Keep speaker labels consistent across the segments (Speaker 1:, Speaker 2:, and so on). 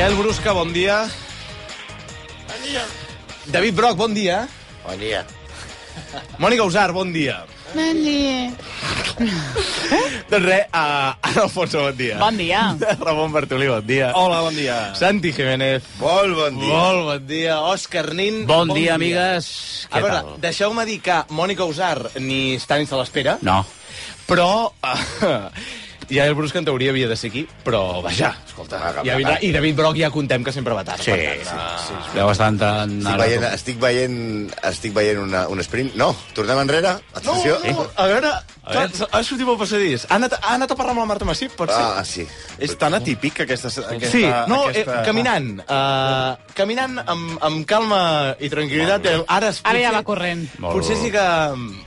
Speaker 1: Manel Brusca, bon dia.
Speaker 2: Bon dia.
Speaker 1: David Broc, bon dia.
Speaker 2: Bon dia.
Speaker 1: Mònica Usar, bon dia.
Speaker 3: Bon dia.
Speaker 1: Doncs res, a uh, Alfonso, bon dia.
Speaker 4: Bon dia.
Speaker 1: Ramon Bartolí, bon dia.
Speaker 5: Hola, bon dia.
Speaker 1: Santi Jiménez.
Speaker 2: Molt bon dia.
Speaker 1: Molt bon dia. Òscar Nin.
Speaker 6: Bon, bon dia, dia, amigues.
Speaker 1: A veure, deixeu-me dir que Mònica Usar ni està dins de l'espera,
Speaker 6: No.
Speaker 1: però... Uh, ja el Brusca en teoria havia de ser aquí, però vaja, escolta,
Speaker 2: Va, va,
Speaker 1: ja
Speaker 2: va.
Speaker 1: vindrà. I David Broc ja contem que sempre va tard.
Speaker 6: Sí,
Speaker 1: per tant, eh,
Speaker 6: sí, sí. Deu estar entrant...
Speaker 2: Estic
Speaker 6: ara
Speaker 2: veient,
Speaker 6: com-
Speaker 2: estic veient, estic veient una, un sprint. No, tornem enrere. Atenció.
Speaker 1: No, a veure, clar, ha sortit pel passadís. Ha anat, ha anat a parlar amb la Marta Massip, per ser.
Speaker 2: Ah, sí.
Speaker 5: És tan atípic que aquesta... aquesta
Speaker 1: Sí, no,
Speaker 5: aquesta...
Speaker 1: eh, caminant. Eh, caminant amb, amb calma i tranquil·litat. Eh, Ara, es,
Speaker 4: Ara ja va corrent.
Speaker 6: Molt
Speaker 1: Potser
Speaker 6: bé.
Speaker 1: sí que...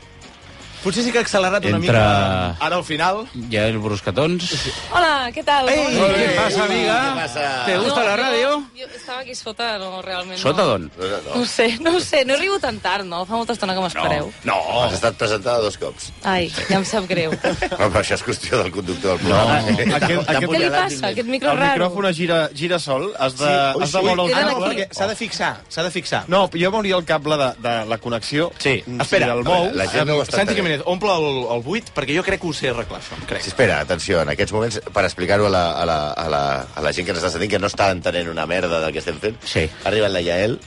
Speaker 1: Potser sí que ha accelerat una
Speaker 6: Entre-
Speaker 1: mica ara al final.
Speaker 6: Hi ha el Bruscatons.
Speaker 7: Hola, què tal?
Speaker 1: Ei!
Speaker 7: Com va?
Speaker 6: Què passa, amiga?
Speaker 2: Què passa?
Speaker 6: Te gusta la
Speaker 7: jo-
Speaker 6: ràdio?
Speaker 7: Jo estava aquí sota, no, realment.
Speaker 6: Sota
Speaker 7: no.
Speaker 6: d'on?
Speaker 7: No ho sé, no ho sé. No he rigut tan tard, no? Fa molta estona que m'espereu.
Speaker 2: No. Has estat presentada dos cops.
Speaker 7: Ai, ja em sap greu. Què
Speaker 2: No, però això és qüestió del conductor del programa.
Speaker 5: No, no. Aquest- aquest-
Speaker 7: li passa? Aquest micro
Speaker 5: El
Speaker 7: raro.
Speaker 5: micròfon es gira, gira sol, has de,
Speaker 1: Sí.
Speaker 5: has de moure
Speaker 7: Ui,
Speaker 5: el
Speaker 1: Ah, no,
Speaker 7: aquí.
Speaker 1: perquè s'ha de fixar, s'ha de fixar.
Speaker 5: No, jo mouria el cable de, de la connexió. Mm,
Speaker 1: Sí,
Speaker 5: Si
Speaker 1: espera.
Speaker 5: el mou...
Speaker 2: La gent no ho està
Speaker 1: Santi
Speaker 2: entenent.
Speaker 1: Jiménez, omple el, el buit, perquè jo crec que ho sé arreglar, això. Crec.
Speaker 2: Sí, espera, atenció, en aquests moments, per explicar-ho a, la, a, la, a, la, a la gent que ens està sentint, que no està entenent una merda del que estem fent,
Speaker 6: Sí.
Speaker 2: ha arribat la Yael,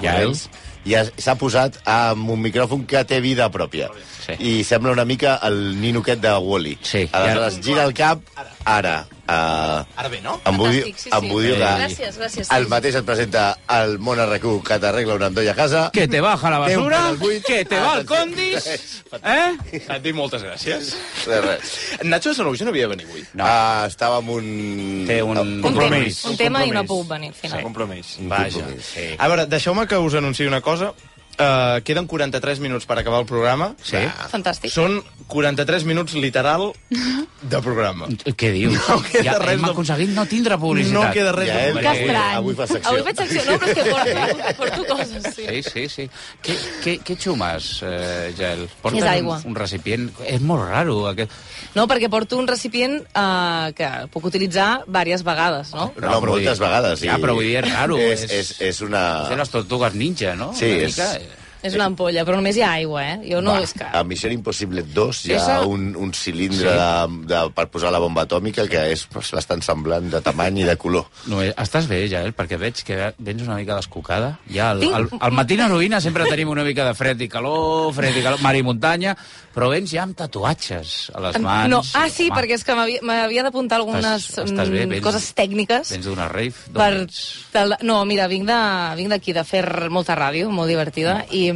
Speaker 6: Yael.
Speaker 2: Corrents, i ha- s'ha posat amb un micròfon que té vida pròpia.
Speaker 6: Sí.
Speaker 2: I sembla una mica el ninoquet de Wall-E.
Speaker 6: Sí.
Speaker 2: Aleshores, gira el cap, ara. Uh,
Speaker 1: Ara bé, no?
Speaker 2: em vull dir,
Speaker 7: Fantàstic, sí, sí.
Speaker 2: em vull dir que
Speaker 7: Gràcies, gràcies.
Speaker 2: el mateix et presenta el món RQ que t'arregla una endolla a casa.
Speaker 6: Que te baja la
Speaker 2: Té un
Speaker 6: basura,
Speaker 2: pedal buit.
Speaker 6: que te
Speaker 1: Ah,
Speaker 6: va al condis... Eh?
Speaker 1: Santi, moltes gràcies.
Speaker 2: De res.
Speaker 1: Nacho de Sanaruja no havia de venir avui.
Speaker 6: No.
Speaker 2: Ah, estava amb un...
Speaker 6: Té un-
Speaker 2: amb-
Speaker 7: Un tema,
Speaker 5: Compromís.
Speaker 7: un tema i no
Speaker 5: Compromís.
Speaker 7: ha pogut venir, al final.
Speaker 5: Compromís.
Speaker 1: Vaja.
Speaker 6: Sí.
Speaker 1: A veure, deixeu-me que us anunciï una cosa. Uh, queden 43 minuts per acabar el programa.
Speaker 6: Sí.
Speaker 7: Fantàstic.
Speaker 1: Són 43 minuts literal de programa.
Speaker 6: Què dius?
Speaker 1: No queda
Speaker 6: ja
Speaker 1: res
Speaker 6: hem
Speaker 1: de-
Speaker 6: aconseguit no tindre publicitat.
Speaker 1: No queda res de
Speaker 2: Yael,
Speaker 4: Que estrany.
Speaker 2: avui fa secció.
Speaker 7: Avui faig secció, no, però és que porto, porto coses, sí.
Speaker 6: Sí, sí, sí. Què, què, què xumes, eh, Jael? Portes
Speaker 7: És aigua.
Speaker 6: Un, un recipient... És molt raro, aquest...
Speaker 7: No, perquè porto un recipient eh, que puc utilitzar diverses vegades, no?
Speaker 2: No, no,
Speaker 6: però vull
Speaker 2: moltes
Speaker 6: dir-
Speaker 2: vegades.
Speaker 6: Ja,
Speaker 2: i-
Speaker 6: però vull dir, és raro.
Speaker 2: És, és, és una...
Speaker 1: Ah.
Speaker 6: és de les tortugues ninja, no?
Speaker 2: Sí,
Speaker 6: Una
Speaker 2: és-
Speaker 6: mica. eh.
Speaker 7: És una ampolla, però només hi ha aigua, eh? Jo no...
Speaker 6: Va,
Speaker 7: és que...
Speaker 2: A Mission Impossible 2 hi ha
Speaker 7: Esa-
Speaker 2: un, un cilindre de, de, per posar la bomba atòmica que és bastant semblant de tamany i de color.
Speaker 6: No, eh, estàs bé, Jael, perquè veig que vens una mica descocada. Ja, al,
Speaker 7: Tinc-
Speaker 6: al, al matí en heroïna sempre tenim una mica de fred i calor, fred i calor, mar i muntanya, però vens ja amb tatuatges a les mans.
Speaker 7: No, ah, sí,
Speaker 6: Home,
Speaker 7: perquè és que m'havia- m'havia d'apuntar algunes
Speaker 6: Estàs- estàs bé,
Speaker 7: mm,
Speaker 6: vens-
Speaker 7: coses tècniques.
Speaker 6: Vens d'una rave, d'on
Speaker 7: per
Speaker 6: ets?
Speaker 7: tal... No, mira, vinc de- vinc d'aquí, de, de fer molta ràdio, molt divertida, i mm,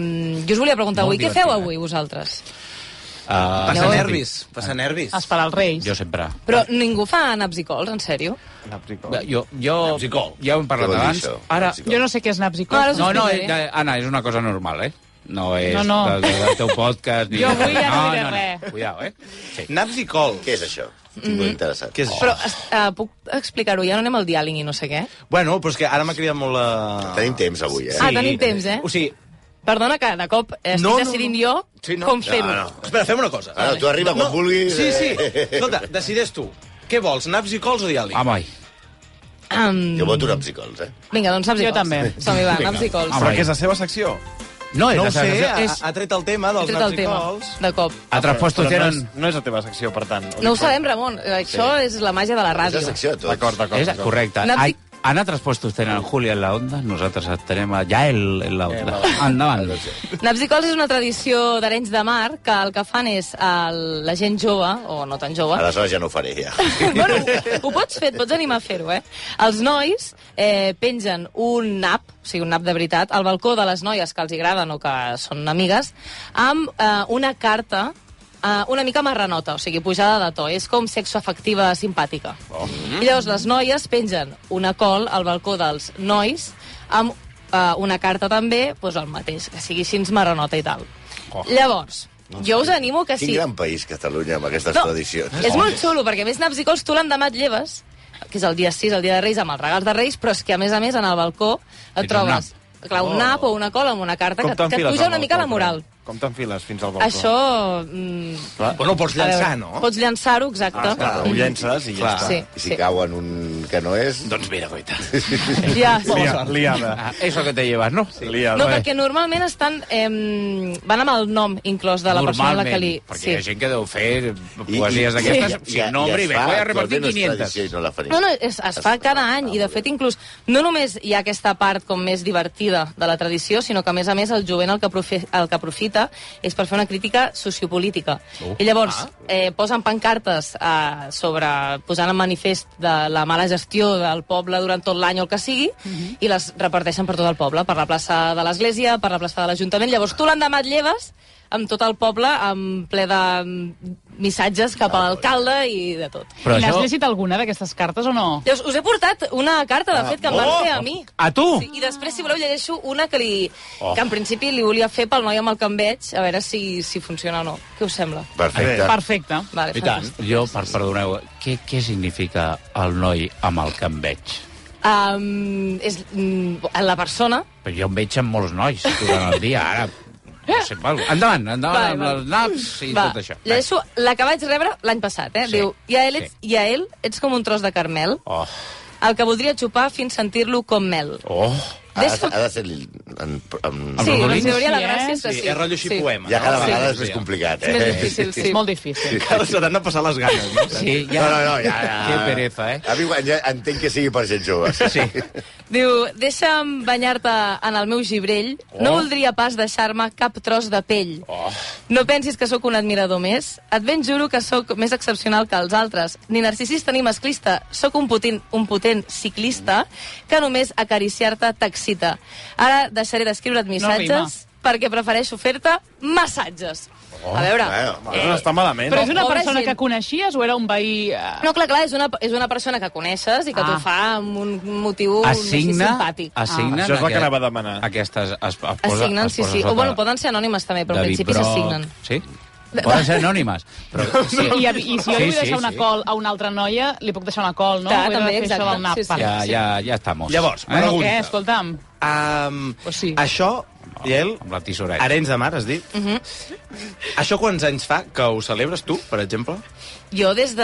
Speaker 7: jo us volia preguntar
Speaker 6: Molt
Speaker 7: avui, què feu
Speaker 6: divertida.
Speaker 7: avui vosaltres?
Speaker 6: Ah,
Speaker 1: Passa
Speaker 7: No.
Speaker 1: nervis, passa nervis.
Speaker 4: Esperar els reis.
Speaker 6: Jo sempre.
Speaker 7: Però ningú fa naps i cols, en sèrio?
Speaker 6: Bé, Jo, jo, ja ho hem
Speaker 2: Què
Speaker 6: parlat
Speaker 2: vol dir
Speaker 6: abans.
Speaker 2: això?
Speaker 6: Ara,
Speaker 2: Naps i cols?
Speaker 4: Jo no sé què és naps i
Speaker 7: No, ara us
Speaker 4: cols.
Speaker 6: no, no,
Speaker 7: explicaré.
Speaker 6: eh, eh, Anna, és una cosa normal, eh? No és
Speaker 4: No, no.
Speaker 6: Del, del teu podcast. Ni
Speaker 4: Jo avui ja no
Speaker 6: no
Speaker 4: diré
Speaker 6: no,
Speaker 4: res.
Speaker 6: Cuidao, eh? Sí.
Speaker 1: Naps i cols.
Speaker 2: Què és això?
Speaker 7: Mm.
Speaker 2: Estic molt interessat.
Speaker 1: Què és això?
Speaker 7: Però uh, puc explicar-ho? Ja no anem al diàling i no sé què?
Speaker 1: Bueno, però és que ara m'ha cridat molt la...
Speaker 2: Tenim temps avui, eh?
Speaker 7: Ah, tenim temps, eh?
Speaker 1: O sigui,
Speaker 7: Perdona que de cop eh, estic
Speaker 1: No, no,
Speaker 7: decidint
Speaker 1: no.
Speaker 7: jo
Speaker 1: Sí, no.
Speaker 7: com fer-ho.
Speaker 2: No, no.
Speaker 1: espera, fem una cosa.
Speaker 2: Ah, no, tu arriba quan vulguis.
Speaker 1: Sí, sí.
Speaker 2: eh?
Speaker 1: Escolta, decideix tu. Què vols, naps i cols o diàleg?
Speaker 6: Home, ai.
Speaker 7: Am,
Speaker 2: Jo voto una psicols, eh?
Speaker 7: Vinga, doncs naps i
Speaker 4: Jo
Speaker 7: cols.
Speaker 4: també.
Speaker 7: Som-hi, va, naps i cols.
Speaker 6: Home,
Speaker 5: Però que és la seva secció.
Speaker 6: no és
Speaker 1: No
Speaker 6: la
Speaker 1: ho sé,
Speaker 6: sensació,
Speaker 1: ha,
Speaker 6: és...
Speaker 1: ha tret el tema
Speaker 7: He
Speaker 1: dels
Speaker 7: tret el
Speaker 1: naps i
Speaker 7: tema,
Speaker 1: cols.
Speaker 7: de cop.
Speaker 6: Altres postos
Speaker 5: Però no és,
Speaker 6: tenen...
Speaker 5: no és la teva secció, per tant.
Speaker 7: No ho sabem, Ramon. Això és la màgia de la
Speaker 2: És la
Speaker 7: ràdio.
Speaker 2: secció de tots.
Speaker 5: D'acord, d'acord.
Speaker 6: És
Speaker 5: d'acord.
Speaker 6: correcte.
Speaker 7: Naps i-
Speaker 6: Ai, en altres postos tenen Julia en la onda, nosaltres tenim a Jael en la onda. Endavant.
Speaker 7: Naps i cols és una tradició d'Arenys de Mar que el que fan és el, la gent jove, o no tan jove...
Speaker 2: Aleshores ja no ho faré, ja.
Speaker 7: bueno, ho- ho pots fer, et pots animar a fer-ho, eh? Els nois eh, pengen un nap, o sigui, un nap de veritat, al balcó de les noies que els hi agraden o que són amigues, amb eh, una carta eh, una mica marranota, o sigui, pujada de to. És com sexo afectiva simpàtica. Oh. I llavors les noies pengen una col al balcó dels nois amb eh, una carta també, doncs el mateix, que sigui així marranota i tal. Oh. Llavors, jo us animo que
Speaker 2: Quin
Speaker 7: si...
Speaker 2: gran país, Catalunya, amb aquestes tradicions.
Speaker 7: És molt xulo, perquè a més naps i cols tu l'endemà et lleves, que és el dia 6, el dia de Reis, amb els regals de Reis, però és que a més a més en el balcó et
Speaker 6: un
Speaker 7: trobes clar, un nap o una cola amb una carta
Speaker 5: Com
Speaker 7: que,
Speaker 5: t'han
Speaker 7: que et
Speaker 5: filat
Speaker 7: puja
Speaker 5: amb
Speaker 7: una
Speaker 5: el
Speaker 7: mica la
Speaker 5: balcó,
Speaker 7: moral.
Speaker 5: Com t'enfiles fins al balcó?
Speaker 7: Això... Mm,
Speaker 1: Bueno, pots
Speaker 7: a
Speaker 1: llançar,
Speaker 7: veure,
Speaker 1: no?
Speaker 7: Pots llançar-ho, exacte.
Speaker 5: Ah, clar, ho llences i ja
Speaker 1: Clar.
Speaker 5: està.
Speaker 7: Sí,
Speaker 2: Ah, I si
Speaker 7: sí.
Speaker 2: cau en un que no és...
Speaker 1: Doncs mira, goita.
Speaker 7: Ja, sí.
Speaker 5: Lia, liada.
Speaker 6: Ah, eso que te llevas, no? Sí.
Speaker 5: Liada.
Speaker 7: No, perquè normalment estan, eh, van amb el nom inclòs de la persona a la que li...
Speaker 6: perquè
Speaker 7: Sí.
Speaker 6: hi ha gent que deu fer poesies d'aquestes, sí. sin nombre, i bé, voy a repartir
Speaker 2: No, és
Speaker 6: 500.
Speaker 2: tradició i no la faré.
Speaker 7: No, no, es, es fa cada any,
Speaker 2: Ah,
Speaker 7: i de
Speaker 2: molt
Speaker 7: fet
Speaker 2: bé.
Speaker 7: inclús no només hi ha aquesta part com més divertida de la tradició, sinó que a més a més el jovent el que, aprofi, el que aprofita és per fer una crítica sociopolítica. I llavors eh, posen pancartes eh, sobre, posant en manifest de la mala gestió del poble durant tot l'any o el que sigui, i les reparteixen per tot el poble, per la plaça de l'Església, per la plaça de l'Ajuntament. Llavors tu l'endemà et lleves amb tot el poble, amb ple de mm, missatges cap a l'alcalde i de tot.
Speaker 6: Però
Speaker 3: I n'has
Speaker 6: això...
Speaker 3: llegit alguna d'aquestes cartes o no?
Speaker 7: Llavors, us he portat una carta,
Speaker 6: Ah,
Speaker 7: de fet, que em van
Speaker 6: oh!
Speaker 7: fer a mi.
Speaker 6: A tu?
Speaker 7: Sí, I després, si voleu, llegeixo una que, li, oh. que en principi li volia fer pel noi amb el que em veig, a veure si, si funciona o no. Què us sembla?
Speaker 2: Perfecte.
Speaker 3: Perfecte.
Speaker 7: Vale,
Speaker 1: I tant.
Speaker 6: Jo, per perdoneu, què, què significa el noi amb el que em veig?
Speaker 7: Um, és mm, la persona...
Speaker 6: Però jo em veig amb molts nois durant el dia, ara... No sé, val. endavant, endavant,
Speaker 7: Vale,
Speaker 6: amb
Speaker 7: vale.
Speaker 6: els naps i tot això.
Speaker 7: llegeixo la que vaig rebre l'any passat, eh?
Speaker 6: Sí,
Speaker 7: Diu, Yael, ets,
Speaker 6: sí.
Speaker 7: sí. Yael, ets com un tros de carmel,
Speaker 6: Oh,
Speaker 7: el que voldria xupar fins sentir-lo com mel.
Speaker 6: oh.
Speaker 2: Ha, de-
Speaker 7: Deixa-
Speaker 2: ha de ser... li- En, en,
Speaker 7: Sí,
Speaker 6: rodolins?
Speaker 7: en teoria la
Speaker 3: Sí, eh?
Speaker 7: gràcia és que sí.
Speaker 1: Sí, és rotllo així poema.
Speaker 2: Ja cada
Speaker 1: no?
Speaker 2: vegada
Speaker 1: Sí.
Speaker 2: és més complicat,
Speaker 7: És
Speaker 2: eh?
Speaker 7: més difícil, sí.
Speaker 3: És molt difícil.
Speaker 5: Cada setmana passar les ganes. No?
Speaker 6: Sí, ja...
Speaker 2: No, no, no, ja, ja.
Speaker 6: Que pereza, eh?
Speaker 2: A mi quan ja entenc que sigui per gent jove. Sí.
Speaker 6: Sí.
Speaker 7: Diu, deixa'm banyar-te en el meu gibrell, oh. no voldria pas deixar-me cap tros de pell. Oh. No pensis que sóc un admirador més, et ben juro que sóc més excepcional que els altres, ni narcisista ni masclista, sóc un potent, un potent ciclista que només acariciar-te t'excita. Ara deixaré d'escriure't
Speaker 3: rima.
Speaker 7: missatges no perquè prefereixo fer-te massatges. Oh, A veure...
Speaker 2: Bueno,
Speaker 5: Eh. No està malament.
Speaker 3: Però és una
Speaker 7: Pobra
Speaker 3: persona
Speaker 7: gent.
Speaker 3: que coneixies o era un veí... eh,
Speaker 7: No, clar, clar, és una, és una persona que coneixes i que
Speaker 3: Ah.
Speaker 7: ah. t'ho fa amb un motiu així
Speaker 6: Assigna,
Speaker 7: Uh, simpàtic. Ah.
Speaker 6: assigna
Speaker 5: Això és el que
Speaker 6: aquest-
Speaker 5: anava a demanar.
Speaker 6: Aquestes es, es posa,
Speaker 7: Assignen,
Speaker 6: es
Speaker 7: sí,
Speaker 6: posa
Speaker 7: sí.
Speaker 6: sota
Speaker 7: O, bueno, poden ser anònimes també, però en
Speaker 6: David
Speaker 7: principi
Speaker 6: Brock.
Speaker 7: s'assignen.
Speaker 6: Sí? Poden ser anònimes. Però, sí.
Speaker 3: I, i, I si jo li vull
Speaker 6: Sí, sí,
Speaker 3: deixar una
Speaker 6: sí.
Speaker 3: col a una altra noia, li puc deixar una col, no?
Speaker 7: Clar,
Speaker 3: Ho he de
Speaker 7: també,
Speaker 3: fer
Speaker 7: exacte.
Speaker 3: Això del nap,
Speaker 7: Sí, sí.
Speaker 3: per-
Speaker 6: Ja, ja, ja Eh? estamos.
Speaker 1: Llavors,
Speaker 3: Bueno,
Speaker 1: pregunta.
Speaker 3: què? Escolta'm.
Speaker 1: Um,
Speaker 3: Pues sí.
Speaker 1: Això, Biel,
Speaker 6: Amb la tisoreta.
Speaker 1: Arenys de Mar, has dit? Uh
Speaker 7: Mhm.
Speaker 1: -huh. Això quants anys fa que ho celebres tu, per exemple?
Speaker 7: Jo des de,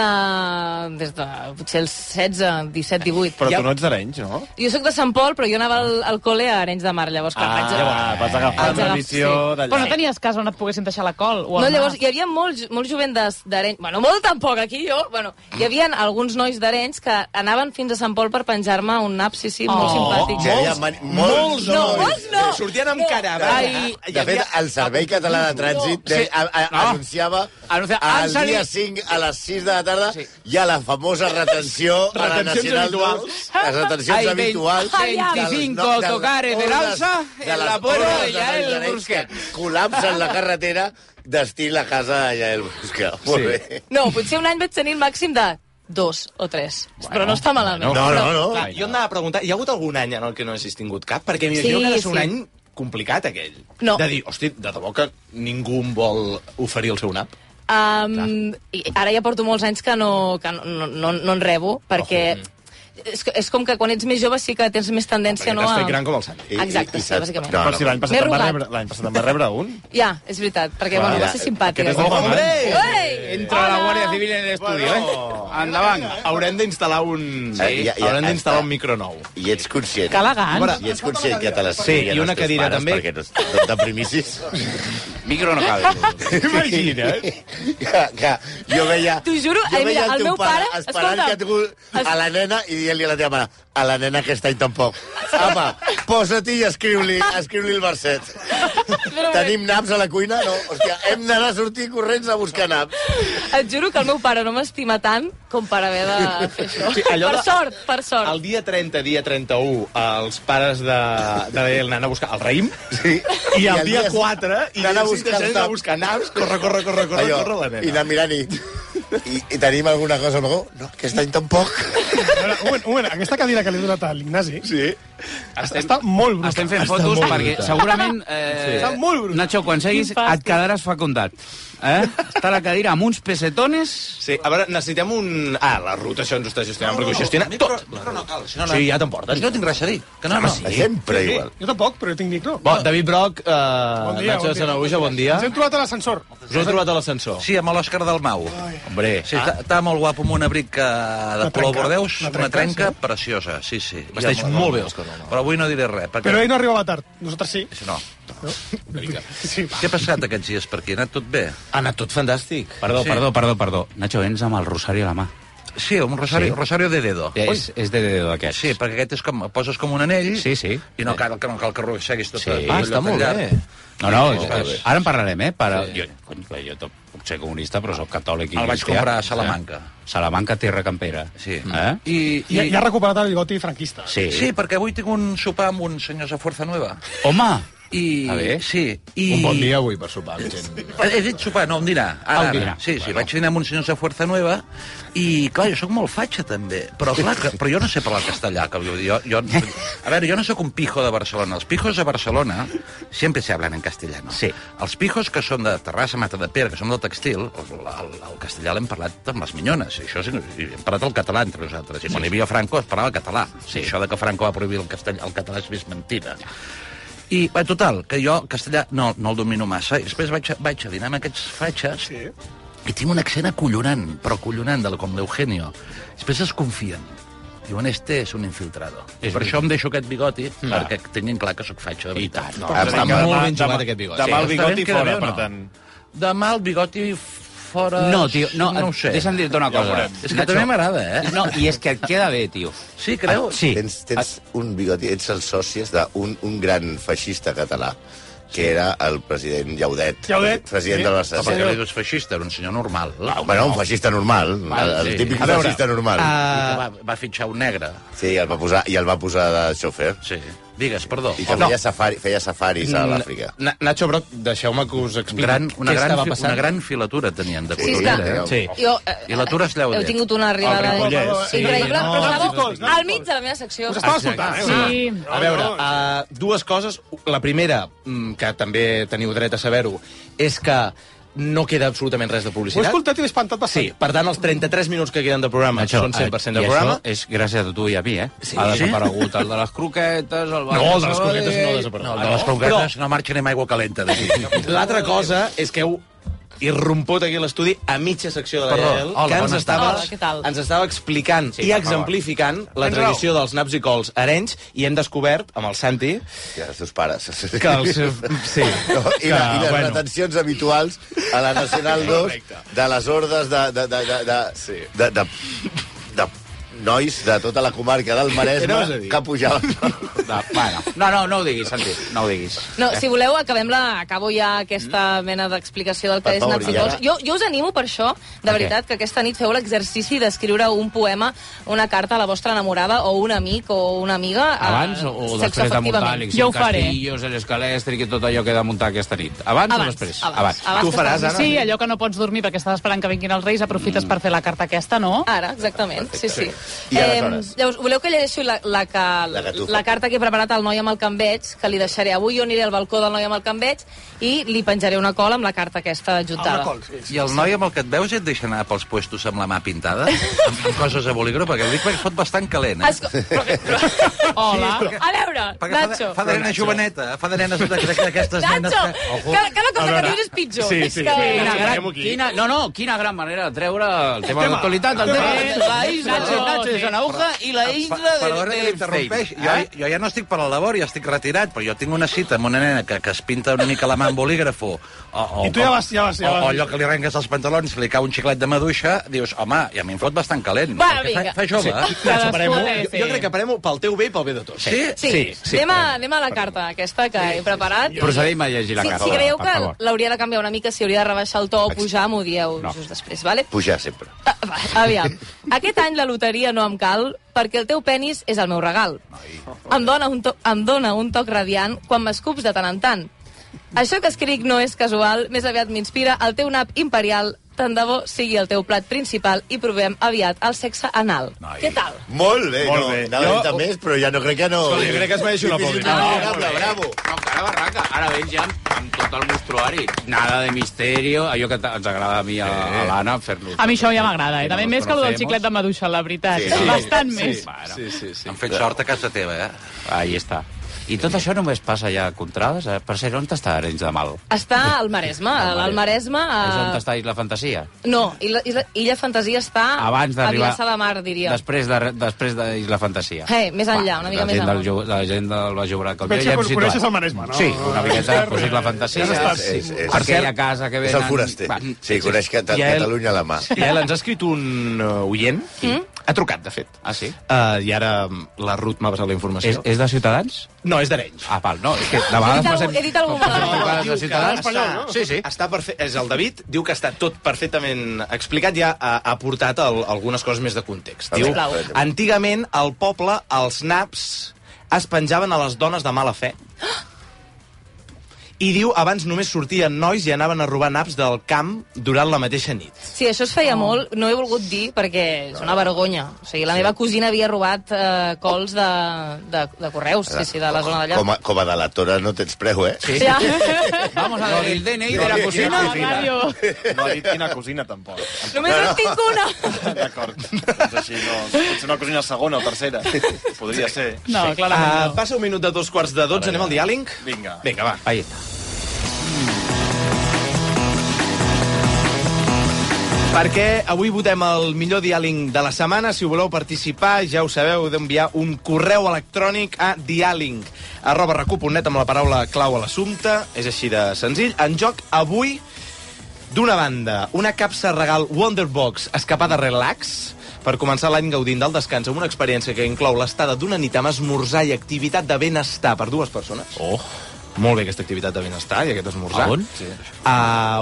Speaker 7: des de potser els 16, 17, 18.
Speaker 5: Però
Speaker 7: ja,
Speaker 5: tu no ets d'Arenys, no?
Speaker 7: Jo sóc de Sant Pol, però jo anava al, al col·le a Arenys de Mar, llavors
Speaker 5: Ah,
Speaker 7: clar, Ah, vaig...
Speaker 5: llavors vas agafar
Speaker 7: Vaig
Speaker 5: una
Speaker 7: agafar-
Speaker 5: visió
Speaker 7: sí.
Speaker 5: d'allà.
Speaker 3: Però no tenies casa on et poguessin deixar la col? O el
Speaker 7: No, llavors,
Speaker 3: nap?
Speaker 7: hi havia molts, molts jovent des- d'Arenys... Bueno, molt tampoc, aquí jo... Bueno, hi havia alguns nois d'Arenys que anaven fins a Sant Pol per penjar-me un nap, sí, sí, molt
Speaker 3: Oh.
Speaker 7: simpàtic.
Speaker 2: Ja hi ha mani- molts,
Speaker 7: No, molts no.
Speaker 1: Sortien amb
Speaker 7: No.
Speaker 1: caravana.
Speaker 7: Ai.
Speaker 2: De fet, el Servei Català de Trànsit
Speaker 6: No.
Speaker 2: de,
Speaker 6: Sí.
Speaker 2: a, a,
Speaker 6: No.
Speaker 2: anunciava
Speaker 6: Anuncia- han
Speaker 2: el
Speaker 6: salit-
Speaker 2: dia 5 a les 6 de la tarda
Speaker 6: Sí.
Speaker 2: hi ha la famosa retenció a la
Speaker 1: Retencions
Speaker 2: Nacional
Speaker 1: habituals.
Speaker 2: dos, les retencions
Speaker 6: Hay
Speaker 2: habituals.
Speaker 6: 25 autocares en alza en la puerta de Yael Brusquet.
Speaker 2: Col·lapsen la carretera d'estil a casa de Yael Brusquet. Molt bé.
Speaker 7: No, potser un any vaig tenir el màxim de dos o tres. Bueno, però no està
Speaker 2: No,
Speaker 7: malament.
Speaker 2: no, no.
Speaker 1: Clar, jo anava a preguntar, hi ha hagut algun any en el que no hagis tingut cap? Perquè m'imagino
Speaker 7: Sí,
Speaker 1: que ha de ser un
Speaker 7: sí.
Speaker 1: any complicat, aquell.
Speaker 7: No.
Speaker 1: De dir, hosti, de debò que ningú em vol oferir el seu nap?
Speaker 7: Um, i ara ja porto molts anys que no, que no, no, no en rebo, perquè és, co- és com que quan ets més jove sí que tens més tendència
Speaker 1: Perquè
Speaker 7: no,
Speaker 1: t'has
Speaker 7: a...
Speaker 1: fet gran com el sant.
Speaker 2: I-
Speaker 7: Exacte,
Speaker 2: i- i
Speaker 7: sí,
Speaker 2: saps-
Speaker 7: bàsicament.
Speaker 2: No,
Speaker 5: Però
Speaker 2: no.
Speaker 5: si l'any
Speaker 7: M'he
Speaker 5: passat, en va
Speaker 7: robat.
Speaker 5: rebre, l'any passat en va rebre un.
Speaker 7: Ja, és veritat, perquè
Speaker 2: Clar.
Speaker 7: bueno, va ser simpàtic.
Speaker 5: Aquest és el
Speaker 1: Hombre!
Speaker 7: eh? Ei!
Speaker 6: Entra la Guàrdia Civil en l'estudi,
Speaker 1: Bueno.
Speaker 6: eh? Endavant.
Speaker 1: Haurem d'instal·lar un...
Speaker 2: Sí.
Speaker 1: Sí. Haurem d'instal·lar un micro nou.
Speaker 2: I ets conscient.
Speaker 3: Que elegant.
Speaker 2: I ets conscient que te les
Speaker 1: Sí, i una cadira també.
Speaker 2: Perquè no, no et deprimissis.
Speaker 6: Micro no cal.
Speaker 2: eh?
Speaker 5: T'imagines?
Speaker 2: que, que jo veia...
Speaker 7: T'ho juro,
Speaker 2: jo
Speaker 7: ai,
Speaker 2: veia
Speaker 7: mira, el
Speaker 2: teu
Speaker 7: meu
Speaker 2: pare,
Speaker 7: pare,
Speaker 2: esperant
Speaker 7: escolta'm,
Speaker 2: que tu, a la nena i dient-li a la teva mare a la nena aquest any tampoc. Apa, posa-t'hi i escriu-li escriu el verset. Tenim naps a la cuina? No, hòstia, hem d'anar a sortir corrents a buscar naps.
Speaker 7: Ah, Et juro que el meu pare no m'estima tant com per haver de fer això.
Speaker 1: Sí, allò
Speaker 7: per
Speaker 1: de-
Speaker 7: sort, per sort.
Speaker 1: El dia 30, dia 31, els pares de, de la Elena han a buscar el raïm.
Speaker 2: Sí.
Speaker 1: I el, dia 4, i
Speaker 2: anar a
Speaker 1: si
Speaker 2: buscar
Speaker 1: deixarem de
Speaker 2: naps.
Speaker 1: buscar naps, corre, corre, corre, corre,
Speaker 2: Allò,
Speaker 1: corre la nena.
Speaker 2: I anar mirant i... I, i tenim alguna cosa al vagó? No, aquest any tampoc.
Speaker 4: A veure, un moment, un moment, aquesta cadira que li he donat a l'Ignasi sí. estem, està molt brutal.
Speaker 6: Estem fent fotos perquè segurament... Eh,
Speaker 4: Està molt brutal.
Speaker 6: Nacho, quan seguis
Speaker 3: Quin fàstic.
Speaker 6: et quedaràs fecundat. eh? està a la cadira amb uns pesetones...
Speaker 1: Sí, a veure, necessitem un... Ah, la ruta això ens ho està gestionant, no, perquè ho gestiona tot.
Speaker 8: no cal, si no,
Speaker 1: Sí, ja t'emportes.
Speaker 8: Jo tinc res a dir. Que no,
Speaker 1: Home,
Speaker 8: no.
Speaker 1: sí.
Speaker 2: Sempre
Speaker 1: Sí, sí.
Speaker 2: igual.
Speaker 4: Jo tampoc, però jo tinc micro.
Speaker 1: Bon, David Broc, eh,
Speaker 4: Bon dia,
Speaker 1: Nacho
Speaker 4: bon
Speaker 1: de
Speaker 4: dia.
Speaker 1: Sanauja, bon dia.
Speaker 4: Ens hem trobat a l'ascensor.
Speaker 1: Us heu trobat a l'ascensor?
Speaker 8: Sí, amb l'Òscar Dalmau.
Speaker 1: Hombre,
Speaker 8: Sí, està, està molt guapo amb un abric que de
Speaker 4: Una
Speaker 8: color
Speaker 4: trenca.
Speaker 8: bordeus,
Speaker 4: Una
Speaker 8: una
Speaker 4: trenca,
Speaker 8: trenca preciosa, sí, sí.
Speaker 1: Vesteix
Speaker 8: I amb-
Speaker 1: molt bé, Òscar Dalmau.
Speaker 8: Però avui no diré res, perquè...
Speaker 4: Però ell no arribava tard. Nosaltres sí.
Speaker 8: No.
Speaker 4: Sí.
Speaker 8: Què ha passat aquests dies per aquí? Ha anat tot bé?
Speaker 1: ha anat tot fantàstic.
Speaker 6: Perdó,
Speaker 8: Sí.
Speaker 6: sí. perdó, perdó, perdó. Nacho, vens amb el rosari a la mà.
Speaker 8: Sí, un rosario,
Speaker 6: Sí.
Speaker 8: sí. rosario de dedo.
Speaker 6: Ja, és, és de dedo d'aquests.
Speaker 8: Sí, perquè aquest és com, poses com un anell
Speaker 6: Sí, sí.
Speaker 8: i no cal, que no cal que arrosseguis tot
Speaker 6: Sí.
Speaker 8: el-
Speaker 6: Ah,
Speaker 8: tot
Speaker 1: està
Speaker 8: allò
Speaker 1: molt
Speaker 8: tallat.
Speaker 1: bé.
Speaker 6: No, no,
Speaker 8: Sí,
Speaker 6: és,
Speaker 8: molt
Speaker 6: és,
Speaker 8: bé.
Speaker 6: ara en parlarem, eh? Per,
Speaker 1: Sí.
Speaker 6: sí. jo, cony, clar, jo to- puc ser comunista, però sóc catòlic. i
Speaker 8: El vaig
Speaker 6: cristià.
Speaker 8: comprar a Salamanca.
Speaker 6: Sí. Salamanca, terra campera.
Speaker 8: Sí.
Speaker 6: Eh?
Speaker 8: I,
Speaker 4: I, I ha recuperat el bigoti franquista.
Speaker 6: Sí.
Speaker 8: Sí, perquè avui tinc un sopar amb uns senyors de Força Nueva.
Speaker 6: Home!
Speaker 8: I,
Speaker 6: Ah, bé?
Speaker 8: Sí, i...
Speaker 1: Un bon dia avui per sopar. amb gent.
Speaker 8: He dit sopar, no, un dinar. Ara,
Speaker 6: Ah, un
Speaker 8: ara.
Speaker 6: dinar.
Speaker 8: Sí, sí, vaig dinar amb uns senyors de Força Nueva i, clar, jo sóc molt fatxa, també. Però, clar, que, però jo no sé parlar castellà. Que, vull dir, jo, jo, a veure, jo no sóc un pijo de Barcelona. Els pijos de Barcelona sempre se hablan en castellano.
Speaker 6: Sí.
Speaker 8: Els pijos que són de Terrassa, Matadepera, que són del textil, el, el, el castellà l'hem parlat amb les minyones. I això sí, i hem parlat el català entre nosaltres. I quan hi havia Franco es parlava català. Sí. Això de que Franco va prohibir el, castell, el català és més mentida. I, bé, total, que jo el castellà no, no el domino massa. I després vaig, a- vaig a dinar amb aquests fatxes sí. i tinc un accent acollonant, però acollonant, de, la- com l'Eugenio. Després es confien. Diuen, este és un infiltrado.
Speaker 6: És
Speaker 8: És per
Speaker 6: veritat. Mm.
Speaker 8: això em deixo aquest bigoti, perquè tinguin clar que sóc fatxa de veritat.
Speaker 6: tant, no.
Speaker 1: Ah, Està
Speaker 5: Demà-
Speaker 1: molt ben
Speaker 5: demà-
Speaker 1: jugat aquest bigoti.
Speaker 5: Demà el
Speaker 8: Està ben
Speaker 5: bigoti
Speaker 8: queda bé
Speaker 5: fora,
Speaker 8: o
Speaker 5: per
Speaker 8: no?
Speaker 5: tant.
Speaker 8: Demà el bigoti fora...
Speaker 6: No, tio, no,
Speaker 8: no ho sé.
Speaker 6: deixa'm dir-te una
Speaker 5: Ja ho
Speaker 6: cosa.
Speaker 5: veurem.
Speaker 8: És que també m'agrada, eh?
Speaker 6: No, i és que et queda bé, tio.
Speaker 8: Sí, creu?
Speaker 6: Ah, Sí.
Speaker 2: Tens, tens un bigoti, ets els socis d'un un gran feixista català, que era el president Llaudet.
Speaker 4: Llaudet,
Speaker 2: President
Speaker 4: sí.
Speaker 2: de la
Speaker 8: No, perquè
Speaker 2: Barcelona.
Speaker 8: li dius feixista, era un senyor normal.
Speaker 2: Ah, Home, no, un feixista normal, el, el
Speaker 8: sí.
Speaker 2: típic
Speaker 8: A veure, ah.
Speaker 2: feixista normal.
Speaker 8: Que
Speaker 6: Ah.
Speaker 8: va, va fitxar un negre.
Speaker 2: Sí, i el va posar, i el va posar de xòfer.
Speaker 8: Sí. Digues, perdó.
Speaker 2: I que
Speaker 8: Home,
Speaker 2: feia, safari, feia safaris a l'Àfrica.
Speaker 1: Na- Nacho Broc, deixeu-me que us
Speaker 8: Un
Speaker 1: expliqui
Speaker 8: gran, una,
Speaker 1: què
Speaker 8: gran,
Speaker 1: estava
Speaker 8: fi-
Speaker 1: passant.
Speaker 8: una gran filatura tenien de
Speaker 7: Sí, és
Speaker 8: cotonera.
Speaker 7: que-
Speaker 8: eh?
Speaker 1: Sí.
Speaker 7: Jo, eh,
Speaker 8: I la Tura és Lleudet.
Speaker 7: Heu tingut una arribada
Speaker 5: El Ripollès.
Speaker 4: Sí, no,
Speaker 7: increïble, però
Speaker 4: no,
Speaker 7: estàveu
Speaker 4: no, no, no.
Speaker 7: al mig de la meva secció.
Speaker 4: Us estava escoltant, eh?
Speaker 3: Sí.
Speaker 1: A veure, uh, dues coses. La primera, mm, que també teniu dret a saber-ho, és que no queda absolutament res de
Speaker 4: Ho he
Speaker 1: publicitat.
Speaker 4: escoltat i m'he espantat
Speaker 1: Sí,
Speaker 4: bastant.
Speaker 1: per tant, els 33 minuts que queden de programa Nacho, són 100% del programa.
Speaker 6: eh, I això és gràcies a tu i a mi, eh?
Speaker 1: Sí.
Speaker 6: Ha desaparegut el de les croquetes, el...
Speaker 1: No, el de les croquetes no ha
Speaker 8: No,
Speaker 1: desaparegut.
Speaker 8: de les conguetes no marxen amb aigua calenta. d'aquí.
Speaker 1: L'altra cosa és que heu irromput aquí a l'estudi a mitja secció de la
Speaker 8: Perdó.
Speaker 1: Yael,
Speaker 8: Hola,
Speaker 1: que ens
Speaker 8: bona
Speaker 1: estava,
Speaker 7: tarda. Hola, què tal?
Speaker 1: ens estava explicant sí, i exemplificant la tradició dels naps i cols a Arenys i hem descobert, amb el Santi,
Speaker 2: Ja, els seus pares.
Speaker 1: que els... Sí.
Speaker 2: No, I, la, I les bueno. retencions habituals a la Nacional 2 de les hordes de... de, de, de, de, sí. de, de, de nois de tota la comarca del
Speaker 1: Era vas a
Speaker 2: Maresme
Speaker 1: dir?
Speaker 2: que pujaven.
Speaker 6: No, bueno, no, no, no ho diguis, Santi, no ho diguis.
Speaker 7: No, si voleu, acabem la, acabo ja aquesta mena d'explicació del
Speaker 2: Per
Speaker 7: que és
Speaker 2: favor,
Speaker 7: Naps i
Speaker 2: ja.
Speaker 7: Cols. Jo, jo us animo per això, de
Speaker 6: què?
Speaker 7: veritat, que aquesta nit feu l'exercici d'escriure un poema, una carta a la vostra enamorada o un amic o una amiga. eh,
Speaker 6: Abans o, o
Speaker 7: sexe
Speaker 6: després de
Speaker 7: efectivament.
Speaker 6: muntar l'Exil
Speaker 3: Jo ho faré.
Speaker 6: Castillos, l'escalèstric i tot allò que he de muntar aquesta nit? Abans,
Speaker 7: Abans,
Speaker 6: o després?
Speaker 7: abans, abans
Speaker 1: Tu
Speaker 7: que
Speaker 1: faràs, Anna?
Speaker 7: estàs-
Speaker 3: Sí, allò que no pots dormir perquè estàs esperant que vinguin els reis, aprofites per fer la carta aquesta, no?
Speaker 7: Ara, exactament, sí, sí.
Speaker 2: I aleshores?
Speaker 7: llavors, voleu que llegeixi la, la, que,
Speaker 2: La
Speaker 7: la,
Speaker 2: gatufa.
Speaker 7: la carta que he preparat al noi amb el canveig, que li deixaré avui, jo aniré al balcó del noi amb el canveig i li penjaré una cola amb la carta aquesta
Speaker 4: Una
Speaker 7: adjuntada.
Speaker 4: col, sí.
Speaker 8: I el noi amb el que et veus et deixa anar pels puestos amb la mà pintada, amb, amb coses a bolígraf, perquè el dic perquè fot bastant calent. Eh?
Speaker 7: Esco... Però, però...
Speaker 3: Hola.
Speaker 7: A veure,
Speaker 8: Perquè fa de,
Speaker 7: Nacho.
Speaker 8: fa de nena joveneta, eh? fa de nenes d'aquestes nenes
Speaker 7: Nacho,
Speaker 8: que...
Speaker 7: cada, cada cosa que dius és pitjor.
Speaker 5: Sí,
Speaker 7: És
Speaker 5: sí,
Speaker 3: Eh,
Speaker 7: que...
Speaker 5: sí.
Speaker 6: Quina gran,
Speaker 5: Acabem aquí.
Speaker 6: quina, no, no, quina gran manera de treure el tema de l'actualitat. El tema
Speaker 3: tema.
Speaker 6: de la isla de
Speaker 3: Nacho,
Speaker 6: Nacho de
Speaker 3: sí.
Speaker 6: Sanauja i la isla de,
Speaker 8: Perdona que l'interrompeix. Jo,
Speaker 6: Eh?
Speaker 8: jo ja no estic per la labor, ja estic retirat, però jo tinc una cita amb una nena que, que es pinta una mica la mà amb bolígrafo. O, o,
Speaker 4: I tu ja vas- ja vas- ja
Speaker 8: o-
Speaker 4: vas.
Speaker 8: O, allò que li arrenques els pantalons, li cau un xiclet de maduixa, dius, home, i a mi em fot bastant calent.
Speaker 7: Va,
Speaker 8: perquè
Speaker 7: vinga.
Speaker 8: fa, fa jove, sí. eh?
Speaker 3: Cadascú
Speaker 1: Parem-ho.
Speaker 3: ha de
Speaker 1: Jo,
Speaker 3: fer.
Speaker 1: jo crec que parem pel teu bé i pel bé de tots.
Speaker 8: Sí?
Speaker 7: Sí, sí, sí. Anem, a, anem a la carta aquesta que he preparat.
Speaker 6: Procedim a llegir la
Speaker 7: si,
Speaker 6: carta,
Speaker 7: Si
Speaker 6: va,
Speaker 7: creieu
Speaker 6: per
Speaker 7: que
Speaker 6: favor.
Speaker 7: l'hauria de canviar una mica, si hauria de rebaixar el to o pujar, m'ho dieu
Speaker 6: No.
Speaker 7: just després, vale?
Speaker 2: Pujar sempre.
Speaker 7: Ah, va, Aviam, aquest any la loteria no em cal perquè el teu penis és el meu regal. Em dona un, to em dona un toc radiant quan m'escups de tant en tant. Això que escric no és casual, més aviat m'inspira el teu nap imperial, tant de bo sigui el teu plat principal i provem aviat el sexe anal.
Speaker 8: Noi.
Speaker 7: Què tal?
Speaker 2: Molt bé,
Speaker 1: Molt
Speaker 2: no,
Speaker 1: bé.
Speaker 2: anava
Speaker 1: Jo-
Speaker 2: jo... més, però ja no crec que no...
Speaker 1: Escolta, jo crec que es mereix una
Speaker 2: Difícilment
Speaker 1: aplaudida.
Speaker 2: agradable, bravo.
Speaker 6: No, cara barraca, ara vens ja amb amb tot el mostruari. Nada de misterio, allò que ens agrada a mi, a, a l'Anna, fer-nos...
Speaker 3: A mi això ja m'agrada, eh?
Speaker 6: Que
Speaker 3: També
Speaker 6: nos
Speaker 3: més que el del
Speaker 6: conocemos.
Speaker 3: xiclet de maduixa, la veritat.
Speaker 1: Sí,
Speaker 3: Sí,
Speaker 1: sí.
Speaker 3: Bastant
Speaker 6: Sí,
Speaker 3: més.
Speaker 6: bueno,
Speaker 1: Sí, sí, sí.
Speaker 8: Han fet sort a casa teva, eh?
Speaker 6: Ahí està. I tot això només passa ja a Contrades? Eh? Per ser, on està Arenys de Mal?
Speaker 7: Està al Maresme. Al Maresme...
Speaker 6: És on
Speaker 7: A...
Speaker 6: està Isla Fantasia?
Speaker 7: No, Illa, Illa, Illa Fantasia està
Speaker 6: Abans
Speaker 7: Ah, a
Speaker 6: d'arribar...
Speaker 7: Vilassar de Mar, diria.
Speaker 6: Després de, després de Isla Fantasia.
Speaker 7: Eh, més enllà,
Speaker 6: Va,
Speaker 7: una mica
Speaker 6: la
Speaker 7: més
Speaker 6: gent del,
Speaker 7: amunt.
Speaker 6: Jo- la gent del Baix Obrat, com jo,
Speaker 4: Veig
Speaker 6: ja
Speaker 4: que
Speaker 6: hem
Speaker 4: con- coneixes el
Speaker 6: situat.
Speaker 4: Maresme, no?
Speaker 6: Sí, una miqueta,
Speaker 4: Ferrer.
Speaker 6: doncs és la fantasia.
Speaker 4: Ja
Speaker 2: està,
Speaker 4: s'està-
Speaker 2: sí, sí.
Speaker 6: Per
Speaker 2: Per
Speaker 6: aquella
Speaker 2: cert,
Speaker 6: casa que
Speaker 2: és
Speaker 6: venen...
Speaker 2: el foraster.
Speaker 6: Va,
Speaker 2: Sí, coneix que
Speaker 1: I el-
Speaker 2: Catalunya a la mà.
Speaker 1: Yael, ens ha escrit un uh, oient. Mm? Ha trucat, de fet.
Speaker 6: Ah, sí?
Speaker 1: Uh, I ara mm, la Ruth m'ha passat la
Speaker 6: És,
Speaker 1: informació.
Speaker 6: és de Ciutadans?
Speaker 1: No, és d'Arenys.
Speaker 6: Ah, val, no, és que de
Speaker 7: He dit
Speaker 6: vegades
Speaker 7: algú-
Speaker 6: passem...
Speaker 7: he dit algú
Speaker 6: com passem
Speaker 7: malament.
Speaker 6: trucades de Ciutadans...
Speaker 1: no? Sí, sí. Està perfe... És el David, diu que està tot perfectament explicat, ja ha, ha portat el, algunes coses més de context. Diu,
Speaker 7: Sisplau.
Speaker 1: antigament al poble els naps es penjaven a les dones de mala fe. I diu, abans només sortien nois i anaven a robar naps del camp durant la mateixa nit.
Speaker 7: Sí, això es feia molt, no he volgut dir perquè és una vergonya. O sigui, la meva cosina havia robat eh, cols de, de, de correus, sí, sí, de la zona d'allà.
Speaker 2: Com a, com a delatora no tens preu, eh?
Speaker 7: Sí. Ja.
Speaker 6: Vamos a ver el DNI de la
Speaker 3: No,
Speaker 6: cocina.
Speaker 3: ràdio.
Speaker 5: No ha dit quina cosina, tampoc.
Speaker 7: Només en tinc una.
Speaker 5: D'acord. Doncs així, no. Potser una cosina segona o tercera. Podria ser.
Speaker 3: No,
Speaker 1: Uh,
Speaker 3: clarament no.
Speaker 1: passa un minut de dos quarts de dotze, anem al diàling?
Speaker 5: Vinga.
Speaker 1: Vinga, va.
Speaker 6: Ahí està.
Speaker 1: Perquè avui votem el millor diàling de la setmana. Si voleu participar, ja ho sabeu, heu d'enviar un correu electrònic a diàling arroba recu.net amb la paraula clau a l'assumpte. És així de senzill. En joc avui, d'una banda, una capsa regal Wonderbox escapada relax per començar l'any gaudint del descans amb una experiència que inclou l'estada d'una nit amb esmorzar i activitat de benestar per dues persones.
Speaker 6: Oh,
Speaker 1: Molt bé aquesta activitat de benestar i aquest esmorzar.
Speaker 6: A on?
Speaker 1: Sí. A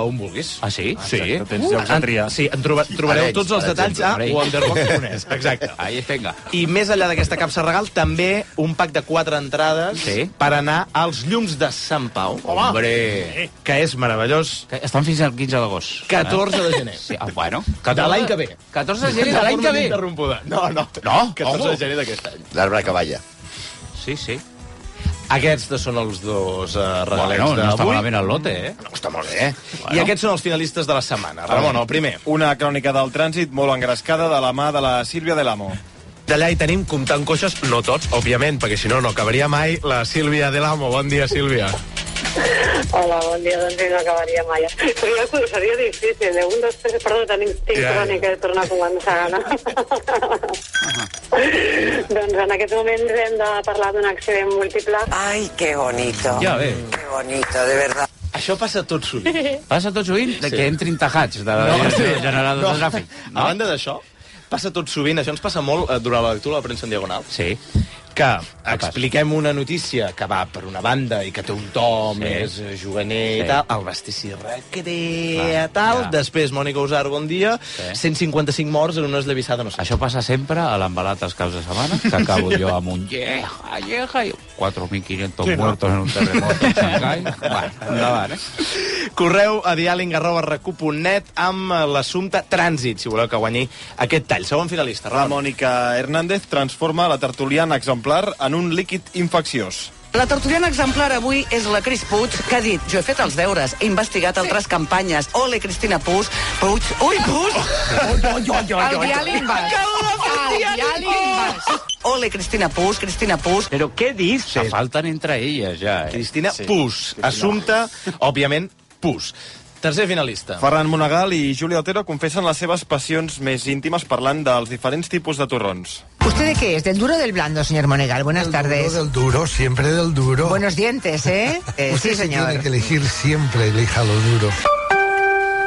Speaker 1: on vulguis.
Speaker 6: ah, sí?
Speaker 1: Sí. Ah,
Speaker 5: Tens llocs a triar.
Speaker 1: Sí, en troba, trobareu
Speaker 2: Arenys,
Speaker 1: tots els
Speaker 2: per
Speaker 1: detalls a
Speaker 6: exemple.
Speaker 1: wonderbox.es. Exacte.
Speaker 6: Ahí, venga.
Speaker 1: I més enllà d'aquesta capsa regal, també un pack de quatre entrades
Speaker 6: Sí.
Speaker 1: per anar als Llums de Sant Pau,
Speaker 6: Hombre.
Speaker 1: que és meravellós,
Speaker 6: Que estan fins al 15 d'agost.
Speaker 1: 14 de gener.
Speaker 6: Sí, ah, bueno.
Speaker 1: De l'any que ve.
Speaker 6: 14 de gener de l'any que ve.
Speaker 1: Interrompuda. No, no.
Speaker 6: No?
Speaker 1: 14
Speaker 6: Ojo.
Speaker 1: de gener d'aquest any.
Speaker 2: L'arbre que balla.
Speaker 6: Sí, sí.
Speaker 1: Aquests dos són els dos uh, regals
Speaker 6: Bueno, no està
Speaker 1: d'avui.
Speaker 6: malament el lote, eh?
Speaker 1: No està molt bé. Bueno. I aquests són els finalistes de la setmana. Ramon, el primer.
Speaker 5: Una crònica del trànsit molt engrescada de la mà de la Sílvia de l'Amo.
Speaker 9: D'allà hi tenim comptant coixes, no tots, òbviament, perquè si no, no acabaria mai, la Sílvia de l'Amo. Bon dia, Sílvia.
Speaker 10: Hola, bon dia, doncs no acabaria mai. Seria, seria difícil, eh? Un, dos, tres, perdó, tenim tinc
Speaker 9: Ja,
Speaker 10: ja,
Speaker 9: ja.
Speaker 10: crònica de tornar a començar, no? doncs en aquest moment hem de parlar d'un accident múltiple.
Speaker 7: Ah,
Speaker 11: Ay, qué bonito.
Speaker 6: Ja ve.
Speaker 11: Qué bonito, de verdad.
Speaker 1: Això passa tot sovint.
Speaker 6: Passa tot sovint de que entrin tajats de la no, sí. general de tràfic.
Speaker 1: A banda d'això, passa tot sovint, això ens passa molt eh, durant la lectura de la premsa en diagonal,
Speaker 6: Sí.
Speaker 1: que expliquem una notícia que va per una banda i que té un to sí. més eh, juganer sí.
Speaker 6: Sí.
Speaker 1: i tal, el vestit s'hi recrea,
Speaker 6: Clar,
Speaker 1: ah, tal,
Speaker 6: ja.
Speaker 1: ja. després Mònica Usar, bon dia, sí. 155 morts en una esllavissada, no sé.
Speaker 6: Això passa sempre a l'embalat els caps de setmana, que acabo jo amb un lleja, lleja, i
Speaker 4: Sí,
Speaker 6: 4.500
Speaker 4: no?
Speaker 6: muertos en un terremoto a Xangai. Bueno, endavant, eh?
Speaker 1: Correu a diàling arroba recu.net amb eh, l'assumpte trànsit, si voleu que guanyi aquest tall. Segon finalista,
Speaker 5: La
Speaker 1: Ramon.
Speaker 5: Mònica Hernández transforma la tertuliana exemplar en un líquid infecciós.
Speaker 11: La tertuliana exemplar avui és la Cris Puig, que ha dit, jo he fet els deures, he investigat altres campanyes. Ole, Cristina Puig, Puig, ui, Puig!
Speaker 3: El diàling vas.
Speaker 11: Acabo de fer
Speaker 3: El diàling vas.
Speaker 11: Ole, Cristina Puig, Cristina Puig.
Speaker 6: Però què dius? Se falten entre elles, ja, eh?
Speaker 1: Cristina sí. Pus. Assumpte, òbviament, Pus. Tercer finalista.
Speaker 5: Ferran Monagal i Júlia Otero confessen les seves passions més íntimes parlant dels diferents tipus de torrons.
Speaker 11: ¿Usted de qué es? ¿Del duro o del blando, señor Monegal? Buenas tardes.
Speaker 9: Del duro, siempre del duro.
Speaker 11: Buenos dientes, ¿eh? Eh, sí, señor.
Speaker 9: elegir siempre, elija lo duro.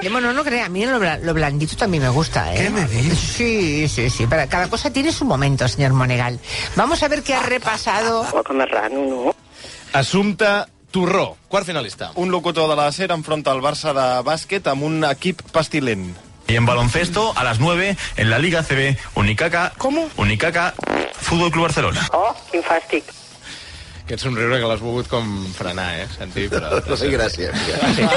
Speaker 11: Eh, Bueno, no crea, a mí lo, bla- lo blandito también me gusta, ¿eh?
Speaker 9: ¿Qué me dices?
Speaker 11: Sí, sí, sí. Para cada cosa tiene su momento, señor Monegal. Vamos a ver qué ha repasado.
Speaker 10: Poc marrano, no?
Speaker 1: Assumpte Torró, quart finalista.
Speaker 5: Un locutor de la SER enfronta el Barça de bàsquet amb un equip pestilent.
Speaker 9: Y en baloncesto, a las 9, en la Liga CB, Unicaca.
Speaker 11: ¿Cómo?
Speaker 9: Unicaca, Fútbol Club Barcelona.
Speaker 10: Oh, quin fàstic.
Speaker 1: Aquest somriure que l'has volgut com frenar, eh, Santi? Però...
Speaker 2: No sé, gràcies.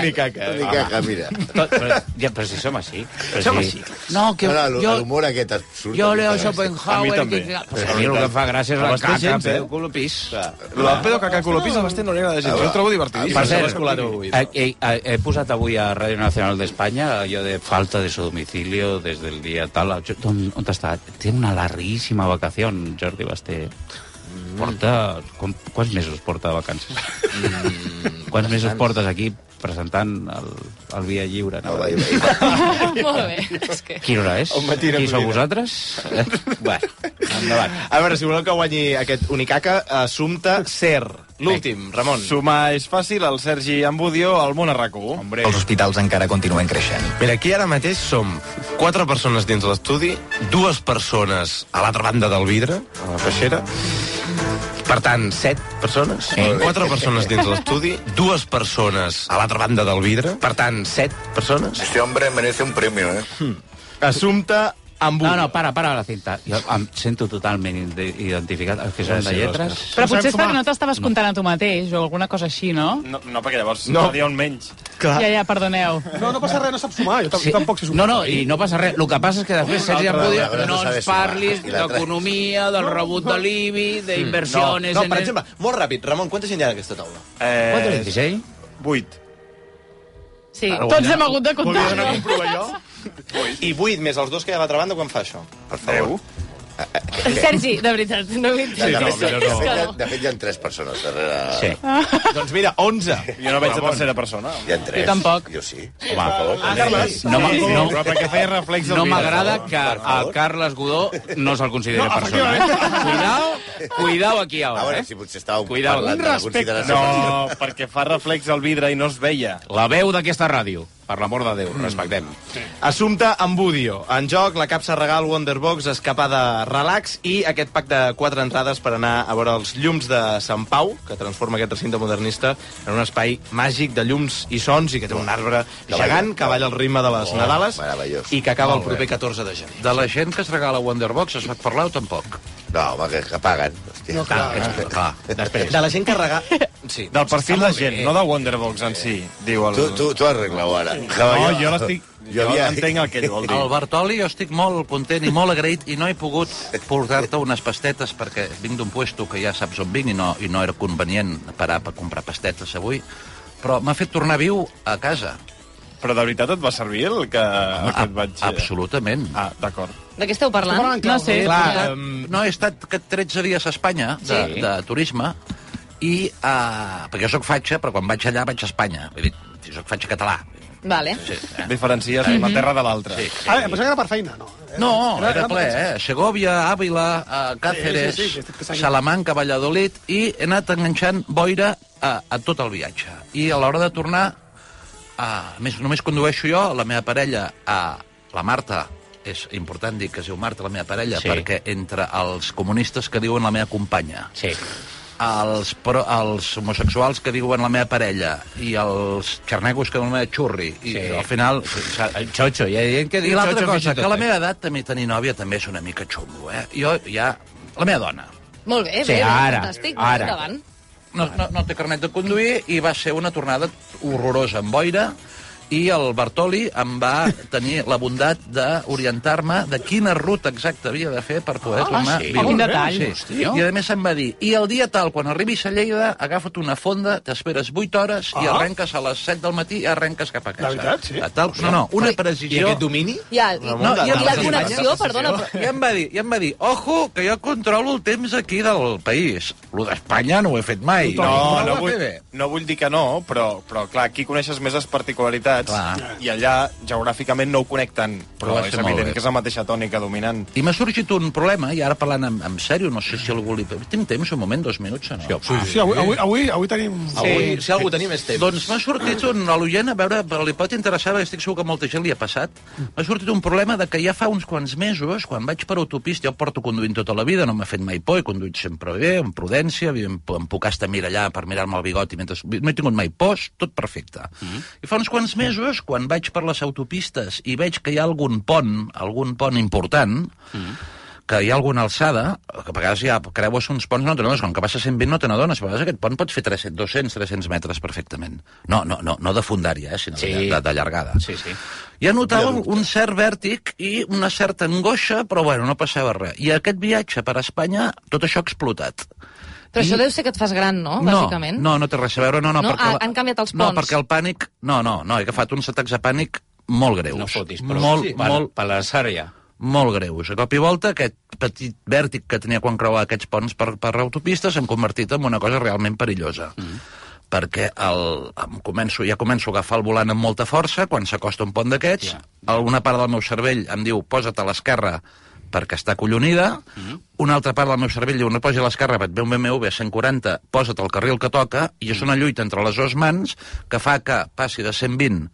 Speaker 1: Unicaca. eh.
Speaker 2: Unicaca, mira.
Speaker 6: Tot, però, ja, però si som així. Però
Speaker 2: Som
Speaker 6: si...
Speaker 2: així.
Speaker 6: No, que
Speaker 2: Ara,
Speaker 6: jo...
Speaker 2: l'humor aquest et surt.
Speaker 6: Jo
Speaker 2: ¿eh? a mi
Speaker 6: leo
Speaker 2: cada vegada.
Speaker 6: Schopenhauer... Que... Pues a mi el que em fa gràcia és la
Speaker 5: Abasté
Speaker 6: caca,
Speaker 5: gens, eh?
Speaker 6: pedo, colopís.
Speaker 5: Lo del pedo caca colopís a Basté no li agrada gens.
Speaker 1: Ah,
Speaker 5: Jo ho trobo divertidíssim.
Speaker 6: Per cert,
Speaker 5: L'has colat avui.
Speaker 6: he, he, he posat avui a Ràdio Nacional d'Espanya allò de falta de su domicilio desde el día tal. Jo- On, on està? Té una larguíssima vacació, Jordi Basté. Porta... Com, quants mesos porta de vacances? quants mesos portes aquí presentant el, el Via Lliure? No, va,
Speaker 7: Molt bé. És que...
Speaker 6: Quina hora és?
Speaker 1: On me tira,
Speaker 6: Qui sou
Speaker 1: Molina.
Speaker 6: vosaltres? Eh? Bueno, endavant.
Speaker 1: A veure, si voleu que guanyi aquest Unicaca, assumpte ser. L'últim, Ramon.
Speaker 5: Sumar és fàcil, el Sergi Ambudio, al món arracó. Hombre.
Speaker 9: Els hospitals encara continuen creixent. Mira, aquí ara mateix som quatre persones dins l'estudi, dues persones a l'altra banda del vidre, a la peixera, per tant, set persones.
Speaker 8: Molt bé.
Speaker 9: Quatre persones dins l'estudi, dues persones a l'altra banda del vidre, per tant, set persones. Este hombre merece un premio, eh?
Speaker 1: Assumpte amb
Speaker 6: No, no, para, para la cinta. Jo em sento totalment ide- identificat. Els que són de
Speaker 5: Gràcies,
Speaker 6: lletres...
Speaker 3: Però potser és perquè no t'estaves contant a tu mateix o alguna cosa així, no?
Speaker 5: No, no perquè llavors
Speaker 6: No.
Speaker 5: no. seria un menys.
Speaker 3: Ja, ja, perdoneu.
Speaker 4: No, no passa res, no saps sumar. Jo tam- tampoc sé
Speaker 6: No, no, i no passa res. El que passa és que després Sergi
Speaker 4: altra
Speaker 6: Ambudio
Speaker 4: vegada,
Speaker 6: no
Speaker 4: no
Speaker 6: ens
Speaker 4: sabes sumar.
Speaker 6: parlis
Speaker 4: I l'altra-
Speaker 6: d'economia, del rebut de l'IBI, d'inversiones...
Speaker 1: No, no, per exemple, molt ràpid, Ramon, quanta gent hi ha en aquesta taula?
Speaker 5: Eh...
Speaker 6: Quantes en dius, ell?
Speaker 5: Vuit.
Speaker 7: Sí,
Speaker 1: Ara
Speaker 3: tots
Speaker 1: guanyar.
Speaker 3: hem hagut de
Speaker 1: Volia donar
Speaker 3: comptar.
Speaker 1: un prova jo? I 8 més els dos que hi ha a l'altra banda, quan fa això?
Speaker 2: Per favor.
Speaker 7: Sergi, de veritat, no m'interessa.
Speaker 2: Sí, no,
Speaker 1: Sí,
Speaker 2: de,
Speaker 1: no,
Speaker 2: fet,
Speaker 1: no.
Speaker 2: hi ha- de fet, hi ha tres persones darrere...
Speaker 1: Sí. doncs mira, 11.
Speaker 5: Jo no veig de tercera persona.
Speaker 2: Hi ha tres.
Speaker 6: Jo tampoc.
Speaker 2: Jo sí.
Speaker 6: Home, per favor.
Speaker 2: Ah, Carles.
Speaker 6: No, m'a-
Speaker 2: Sí, sí.
Speaker 6: no,
Speaker 2: Però perquè feia reflex del
Speaker 6: no
Speaker 2: vidre.
Speaker 6: m'agrada
Speaker 2: Per
Speaker 6: que a Carles Godó no se'l consideri no, persona. Eh? Cuidao, cuidao aquí ara. A veure, eh?
Speaker 2: si potser estava
Speaker 6: cuidao.
Speaker 5: parlant de la consideració No, perquè fa reflex al vidre i no es veia. Mm.
Speaker 6: La veu d'aquesta ràdio, per l'amor de Déu, respectem.
Speaker 1: Assumpte amb Budio. En joc, la capsa regal Wonderbox, escapada relax i aquest pack de quatre entrades per anar a veure els llums de Sant Pau, que transforma aquest recinte modernista en un espai màgic de llums i sons i que té un arbre gegant que balla el ritme de les
Speaker 8: Oh,
Speaker 1: Nadales i que acaba el
Speaker 8: Molt bé.
Speaker 1: proper 14 de gener.
Speaker 8: De la gent que es regala Wonderbox es pot parlar o tampoc?
Speaker 2: No, home, que, que paguen. Hòstia.
Speaker 8: Ah,
Speaker 1: No, clar.
Speaker 8: clar.
Speaker 1: Després. De la gent que regala... Sí.
Speaker 5: Del perfil de gent, no de Wonderbox en si, diu el...
Speaker 2: Tu, tu, tu arregla-ho ara.
Speaker 5: No, jo l'estic... Jo,
Speaker 2: havia-
Speaker 5: entenc el que ell vol dir.
Speaker 8: El Bartoli, jo estic molt content i molt agraït i no he pogut portar-te unes pastetes perquè vinc d'un puesto que ja saps on vinc i no, i no era convenient parar per comprar pastetes avui, però m'ha fet tornar viu a casa.
Speaker 5: Però de veritat et va servir el que, el que et vaig...
Speaker 8: Absolutament.
Speaker 5: Ah, d'acord.
Speaker 7: De què esteu parlant? No sé.
Speaker 8: Clar, no, he estat que 13 dies a Espanya de,
Speaker 7: Sí.
Speaker 8: sí. de turisme i... Uh, perquè jo sóc fatxa, però quan vaig allà vaig a Espanya. Vull dir, jo sóc fatxa català.
Speaker 7: Vale.
Speaker 8: Sí, eh?
Speaker 5: Diferencies
Speaker 8: Mhm.
Speaker 5: la terra de l'altra.
Speaker 8: Sí.
Speaker 4: Ah, em pensava que era per feina, no.
Speaker 8: No,
Speaker 4: Era-
Speaker 8: era
Speaker 4: era
Speaker 8: ple,
Speaker 4: per-
Speaker 8: eh? Segovia, Àvila, eh, Càceres,
Speaker 4: Sí, sí, sí,
Speaker 8: sí,
Speaker 4: sí,
Speaker 8: sí,
Speaker 4: estic
Speaker 8: sí,
Speaker 4: pensant-
Speaker 8: Salamanca, Valladolid, i he anat enganxant boira eh, a, a tot el viatge. I a l'hora de tornar, a, a més, només condueixo jo, la meva parella, a la Marta, és important dir que es diu Marta, la meva parella,
Speaker 6: Sí.
Speaker 8: sí. perquè entre els comunistes que diuen la meva companya,
Speaker 6: Sí.
Speaker 8: els, pro, els homosexuals que diuen la meva parella i els xarnegos que diuen la meva xurri
Speaker 6: Sí.
Speaker 8: i sí. al final...
Speaker 6: El xotxo, hi ha gent que diu
Speaker 8: I l'altra
Speaker 6: xotxo fins
Speaker 8: cosa,
Speaker 6: i tot,
Speaker 8: que la
Speaker 6: eh?
Speaker 8: meva edat també tenir nòvia també és una mica xungo, eh? Jo ja... La meva dona
Speaker 7: Molt bé,
Speaker 8: Sí,
Speaker 7: bé,
Speaker 8: ara,
Speaker 7: fantàstic.
Speaker 8: ara.
Speaker 7: Endavant.
Speaker 8: no, no, no té carnet de conduir i va ser una tornada horrorosa en boira i el Bartoli em va tenir la bondat d'orientar-me de quina ruta exacta havia de fer per poder
Speaker 6: Ah,
Speaker 8: tornar
Speaker 6: sí?
Speaker 8: viu.
Speaker 6: Quin detall.
Speaker 8: Sí.
Speaker 6: Hòstia.
Speaker 8: I a més em va dir, i el dia tal, quan arribis a Lleida, agafa't una fonda, t'esperes 8 hores i
Speaker 4: Ah.
Speaker 8: arrenques a les 7 del matí i arrenques cap a casa.
Speaker 4: De veritat, sí.
Speaker 8: A tal, no, no, una precisió...
Speaker 1: domini?
Speaker 7: Ja, i,
Speaker 8: No,
Speaker 7: i,
Speaker 8: ja
Speaker 7: la
Speaker 8: em va dir-
Speaker 7: connexió, perdona, però...
Speaker 8: Ja em va dir, ja em va dir, ojo, que jo controlo el temps aquí del país. Lo d'Espanya no ho he fet mai.
Speaker 5: No, no
Speaker 8: ho
Speaker 5: vull,
Speaker 8: vull... Bé.
Speaker 5: no vull dir que no, però, però clar, aquí coneixes més les particularitats
Speaker 8: Clar.
Speaker 5: i allà geogràficament no ho connecten, però,
Speaker 8: Però va
Speaker 5: és
Speaker 8: ser molt
Speaker 5: evident
Speaker 8: bé.
Speaker 5: que és la mateixa tònica dominant.
Speaker 8: I m'ha sorgit un problema, i ara parlant en, en sèrio, no sé si algú li... Tinc temps, un moment, dos minuts, o no? Ah, Sí,
Speaker 4: Sí, avui, avui, avui, avui tenim...
Speaker 1: Avui, si algú tenim és temps.
Speaker 8: Doncs m'ha sortit un a l'oient, a veure, però li pot interessar, perquè estic segur que a molta gent li ha passat, m'ha sortit un problema de que ja fa uns quants mesos, quan vaig per autopista, jo porto conduint tota la vida, no m'ha fet mai por, he conduït sempre bé, amb prudència, em, em puc estar mirar allà per mirar-me el bigoti, mentre no he tingut mai pors, tot perfecte.
Speaker 4: Mm-hmm.
Speaker 8: I fa uns quants mesos, quan vaig per les autopistes i veig que hi ha algun pont, algun pont important, que hi ha alguna alçada, que a vegades hi ha creues uns ponts, no t'adones, com que passa 120 no te n'adones, a vegades aquest pont pots fer 300, 200, 300 metres perfectament. No, no, no, no de fundària, eh, sinó sí. de, de, de, llargada. Sí, sí. Ja notava un, un cert vèrtic i una certa angoixa, però bueno, no passava res. I aquest viatge per Espanya, tot això ha explotat.
Speaker 7: Però
Speaker 8: I-
Speaker 7: això deu ser que et fas gran, no? Oh, Bàsicament.
Speaker 8: No, no té res a veure, no, no,
Speaker 7: No?
Speaker 8: perquè...
Speaker 7: Ah, han canviat els
Speaker 8: No,
Speaker 7: ponts.
Speaker 8: perquè el pànic... No, no, no, he agafat uns atacs de pànic molt greus. No fotis,
Speaker 6: però
Speaker 8: Molt,
Speaker 6: sí.
Speaker 8: molt,
Speaker 6: Per la sària.
Speaker 8: molt greus. A cop i volta, aquest petit vèrtic que tenia quan creuava aquests ponts per, per autopistes s'han convertit en una cosa realment perillosa. Mm perquè el, em començo, ja començo a agafar el volant amb molta força, quan s'acosta un pont d'aquests, yeah. alguna part del meu cervell em diu posa't a l'esquerra perquè està collonida, una altra part del meu cervell diu no posi a l'esquerra, et ve un BMW a 140, posa't al carril que toca, i és una lluita entre les dues mans que fa que passi de 120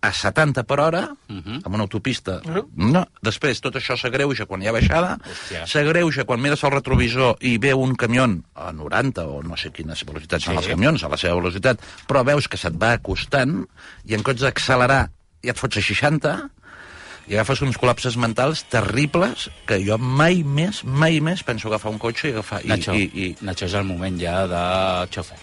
Speaker 8: a 70 per hora,
Speaker 6: Mhm.
Speaker 8: amb una autopista. No. Després, tot això s'agreuja quan hi ha baixada,
Speaker 6: Hòstia.
Speaker 8: s'agreuja quan mires el retrovisor i veu un camió a 90 o no sé quines velocitats sí. són
Speaker 6: Sí.
Speaker 8: els camions, a la seva velocitat, però veus que se't va acostant i en comptes d'accelerar ja et fots a 60 i agafes uns col·lapses mentals terribles que jo mai més, mai més penso agafar un cotxe i agafar... I,
Speaker 6: Nacho,
Speaker 8: i,
Speaker 6: i, i... Nacho és el moment ja de xòfer.